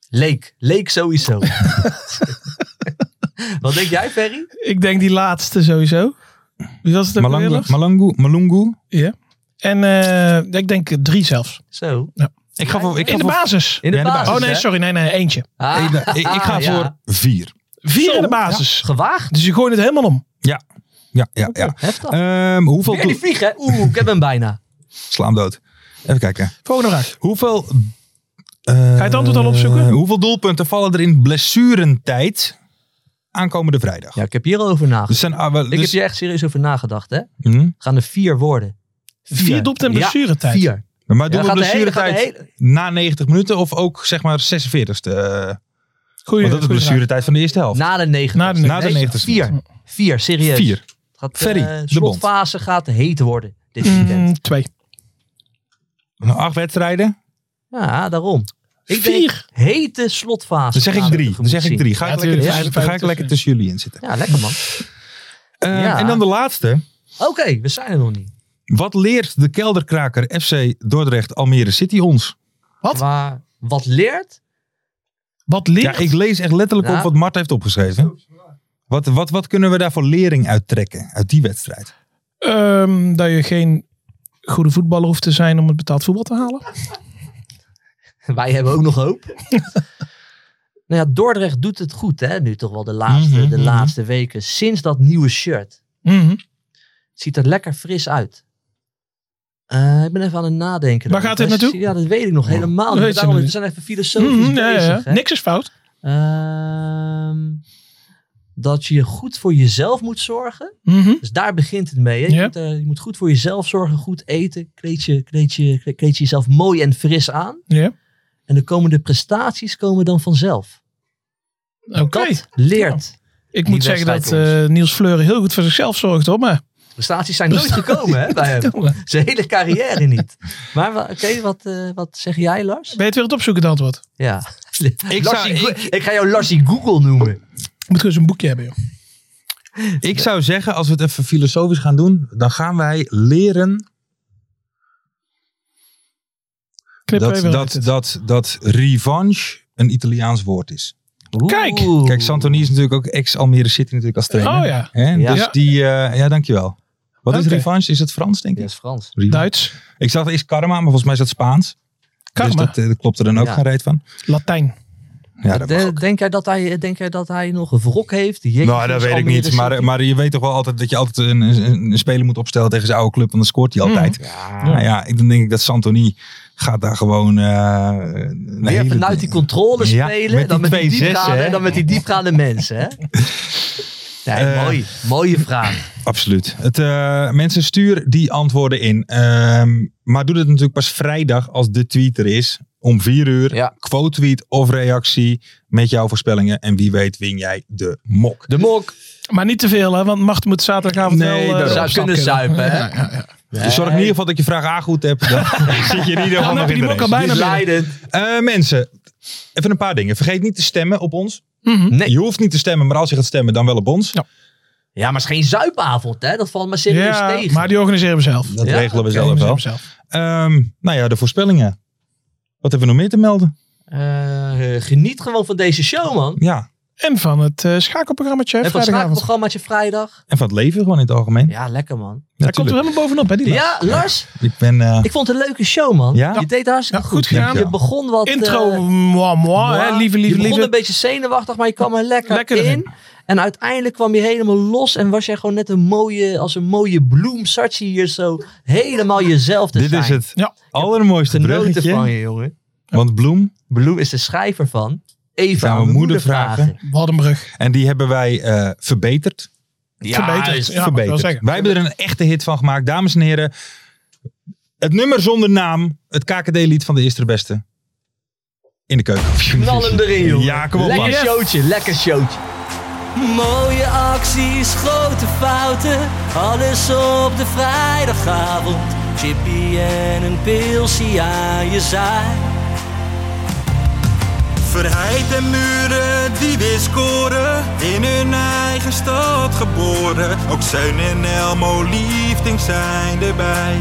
Leek. *laughs* Leek sowieso. Wat denk jij, Ferry? *laughs* Ik denk die laatste sowieso. Wie was het ook alweer, Malangu, Lars? Malangu, Malungu? En eh, ik denk drie zelfs. Zo. Ik ga voor... Ik in ga de voor- basis. In de Ja, de basis, Oh nee, hè? sorry. Nee, nee, eentje. Ah, ik, ik- ik ga ah, ja. voor vier. Vier Zo, in de basis. Gewaagd. Dus je gooit het helemaal om. Ja, ja, ja. Heftig. Ehm, hoeveel Weer die doel... vlieg, hè? Oeh, ik heb hem bijna. Sla hem dood. Even kijken. Volgende vraag. Hoeveel... eh, je het antwoord al opzoeken? Hoeveel doelpunten vallen er in blessurentijd aankomende vrijdag? Ja, ik heb hier al over Dus nagedacht. zijn, ah, wel, Ik heb dus- hier echt serieus over nagedacht, hè? Hm? Gaan er vier worden. Vier doelpunten en Ja, blessuretijd. Vier. Maar doen Ja, we gaat de hele- blessuretijd gaat de hele- na 90 minuten of ook zeg maar 46ste? eh, Goeie, want dat is goeie vraag. blessuretijd van de eerste helft. Na de 90. Na de Na de 90 Vier. Vier, serieus. Vier. Gaat, Ferry, eh, de Bond. slotfase gaat heet worden. Dit Mm, weekend. twee. Nou, acht wedstrijden. Ja, daarom. Ik Vier. denk hete slotfase. Dan zeg ik gaan we drie. Dan tegemoet zeg ik zien. drie. Ga Ja, ik tuurlijk, lekker- vijf- ga vijf ik lekker tussen. tussen jullie in zitten. Ja, lekker man. Eh, Ja. En dan de laatste. Oké, we zijn er nog niet. Wat leert de kelderkraker FC Dordrecht Almere City ons? Wat? Maar wat leert? *laughs* Wat Ja, leert? ik lees echt letterlijk Ja. op wat Mart heeft opgeschreven. Wat, wat, wat kunnen we daar voor lering uit trekken? Uit die wedstrijd. Ehm, dat je geen goede voetballer hoeft te zijn om het betaald voetbal te halen. Wij hebben ook nog hoop. *laughs* nou ja, Dordrecht doet het goed hè. Nu toch wel de laatste, Mhm, de mhm. laatste weken. Sinds dat nieuwe shirt. Mhm. Het ziet er lekker fris uit. Eh, ik ben even aan het nadenken. Waar Dan. gaat dit Wij- naartoe? Ja, dat weet ik nog helemaal Weet niet. je Daarom, nog we niet. zijn even filosofisch Mhm, ja, ja, ja. bezig. hè. Niks is fout. Ehm, dat je goed voor jezelf moet zorgen. Mhm. Dus daar begint het mee. Hè? Je, Ja. moet, eh, je moet goed voor jezelf zorgen, goed eten. Kleed je, kleed, je, kleed je jezelf mooi en fris aan. Ja. En dan komen de prestaties komen dan vanzelf. Oké. Dat leert. Ik Die moet zeggen dat wedstrijd eh, Niels Fleuren heel goed voor zichzelf zorgt hoor. Maar Prestaties zijn nooit gekomen hè, bij *laughs* hem. Zijn hele carrière niet. Maar wa- oké, wat, eh, wat zeg jij Lars? ben je het weer aan het opzoeken het antwoord? Ja. Ik Larsie zou- Go- ik ga jou Larsie Google noemen. Je moet gewoon zo'n boekje hebben joh. Ik zou zeggen, als we het even filosofisch gaan doen, dan gaan wij leren Knip er dat, even dat, uit. dat, dat revanche een Italiaans woord is. Kijk. Oeh. Kijk, Santoni is natuurlijk ook ex-Almere City natuurlijk als trainer. Oh ja. Hè? Ja. Dus Ja. die, eh, ja, dankjewel. Wat is Oké. revanche? Is het Frans, denk ik? Ja, is Frans. Revanche. Duits, Ik zag eerst karma, maar volgens mij is dat Spaans. karma, Dus dat, eh, dat klopt er dan ook Ja. geen reet van. Latijn. Ja, dat De- mag ook. denk, jij dat hij, denk jij dat hij nog een wrok heeft? Jezus, Nou, dus dat weet ik Almere niet. City. Maar, maar je weet toch wel altijd dat je altijd een, een, een speler moet opstellen tegen zijn oude club. Want dan scoort Mm. hij altijd. Nou ja, ik, dan denk ik dat Santoni gaat daar gewoon... eh een Weer hele- vanuit die controle Ja, spelen. met dan, die met twee die zessen, diepgaande, hè? dan met die diepgaande mensen. *laughs* Hè? Nee, Eh. mooi. Mooie vraag. Absoluut. Het, eh, mensen, stuur die antwoorden in. Ehm, maar doe dat natuurlijk pas vrijdag als de tweet er is. Om vier uur. Ja. Quote tweet of reactie met jouw voorspellingen. En wie weet win jij de mok. De mok Maar niet te veel hè, want Macht moet zaterdagavond Nee, wel... eh, daarom. op zou stap kunnen zuipen. Hè? Ja, ja, ja. Dus zorg in ieder geval dat je vraag A goed hebt. Dan *laughs* zit je in ieder geval Dan nog heb je in die de mok al race. bijna binnen. Leiden. Eh, mensen, even een paar dingen. Vergeet niet te stemmen op ons. Mhm. Nee. Je hoeft niet te stemmen, maar als je gaat stemmen, dan wel op ons. Ja. Ja, maar het is geen zuipavond. Hè? Dat valt maar serieus Ja, tegen. maar die organiseren we zelf. Dat Ja, regelen we Die zelf organiseren wel. we zelf. Ehm, nou ja, de voorspellingen. Wat hebben we nog meer te melden? Eh, geniet gewoon van deze show, man. Ja, En van het eh schakelprogramma En van het vrijdagavond. schakelprogrammaatje vrijdag. en van het leven gewoon in het algemeen. Ja, lekker, man. Daar komt er Natuurlijk. helemaal bovenop hè die lijst. Ja, Lars. Ik ben... eh, Ik vond het een leuke show, man. Ja? Je deed het hartstikke Ja, goed. goed gedaan. Je begon wat... Intro, eh, moi, moi, Oh, hè, Wow. lieve, lieve, je begon een lieve. beetje zenuwachtig, maar je kwam er lekker, Lekker in. erin. En uiteindelijk kwam je helemaal los en was jij gewoon net een mooie, als een mooie bloem zat je hier zo helemaal jezelf te Dit zijn. is het Ja. allermooiste Genoten bruggetje. van je, jongen. Want Bloem, Bloem is de schrijver van Even Gaan aan we mijn moeder moeder vragen. vragen? Waddenbrug. en die hebben wij eh, verbeterd. Ja, Verbeterd. Ja, mag ik wel verbeterd. zeggen. wij hebben er een echte hit van gemaakt. Dames en heren, het nummer zonder naam. Het KKD-lied van de Eerste de Beste. In de keuken. Knal hem erin, jongen. Ja, kom op, Lekker Lars. showtje, lekker showtje. Mooie acties, grote fouten. Alles op de vrijdagavond. Chippy en een pilsie aan je zaai. Verheid en muren die weer scoren, in hun eigen stad geboren. Ook Zeun en Elmo liefding zijn erbij.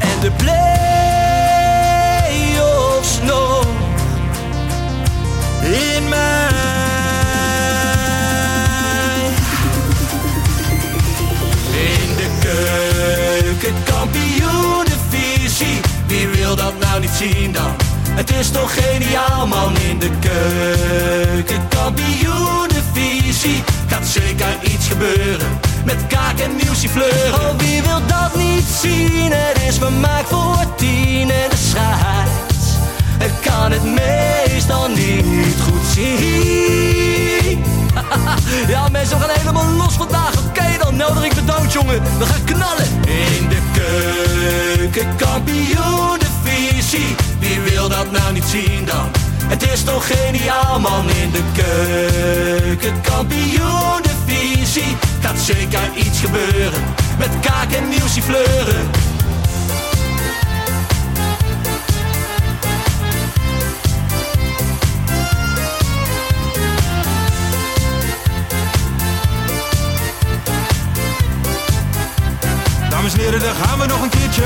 En de play-offs nog. In mij. In de keuken, kampioenenvisie. Wie wil dat nou niet zien dan? Het is toch geniaal man in de keuken, kampioenenvisie. Gaat zeker iets gebeuren met kaak en nieuwsje fleuren. Oh, wie wil dat niet zien? Het is vermaakt voor tien en de scheids. Ik kan het meestal niet goed zien. *laughs* Ja, mensen, we gaan helemaal los vandaag. Oké dan, nodig ik bedankt, jongen. We gaan knallen. In de keuken, kampioen, de visie. Wie wil dat nou niet zien dan? Het is toch geniaal, man. In de keuken, kampioen, de visie. Gaat zeker iets gebeuren. Met kaak en nieuwsie fleuren. Maarten, daar gaan we nog een keertje.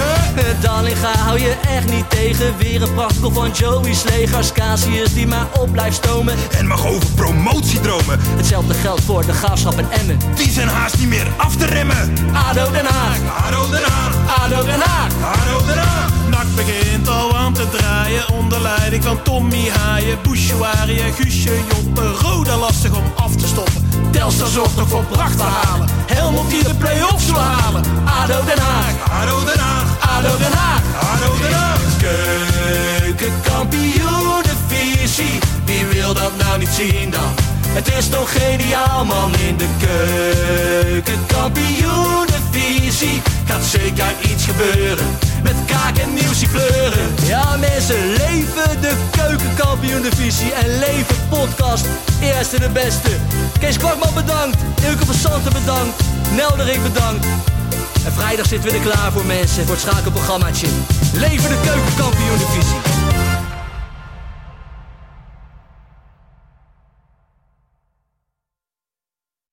Dallinga hou je echt niet tegen. Weer een prachtkel van Joey's legers. Casius die maar op blijft stomen. En mag over promotie dromen. Hetzelfde geldt voor de gaafschap en Emmen. Die zijn haast niet meer af te remmen. ADO Den Haag. ADO Den Haag. ADO Den Haag. ADO Den Haag. Nak begint al aan te draaien onder leiding van Tommy Haaien, Bouchouari en Guusje Joppen. Roda lastig om af te stoppen. Telstar zorgt nog voor pracht te halen. Helmond die de play-offs wil halen. ADO Den Haag. ADO Den Haag. ADO Den Haag. ADO Den Haag. Keukenkampioenenvisie. Wie wil dat nou niet zien dan? Het is toch geniaal man in de keukenkampioenenvisie. Gaat zeker iets gebeuren. Met kaak en nieuwsie kleuren. Ja mensen, leven de keukenkampioen divisie en leven podcast. Eerste de beste. Kees Kwakman bedankt. Ilke van Santen bedankt. Nelderik bedankt. En vrijdag zitten we er klaar voor mensen, voor het schakelprogrammaatje. Leven de keukenkampioen divisie.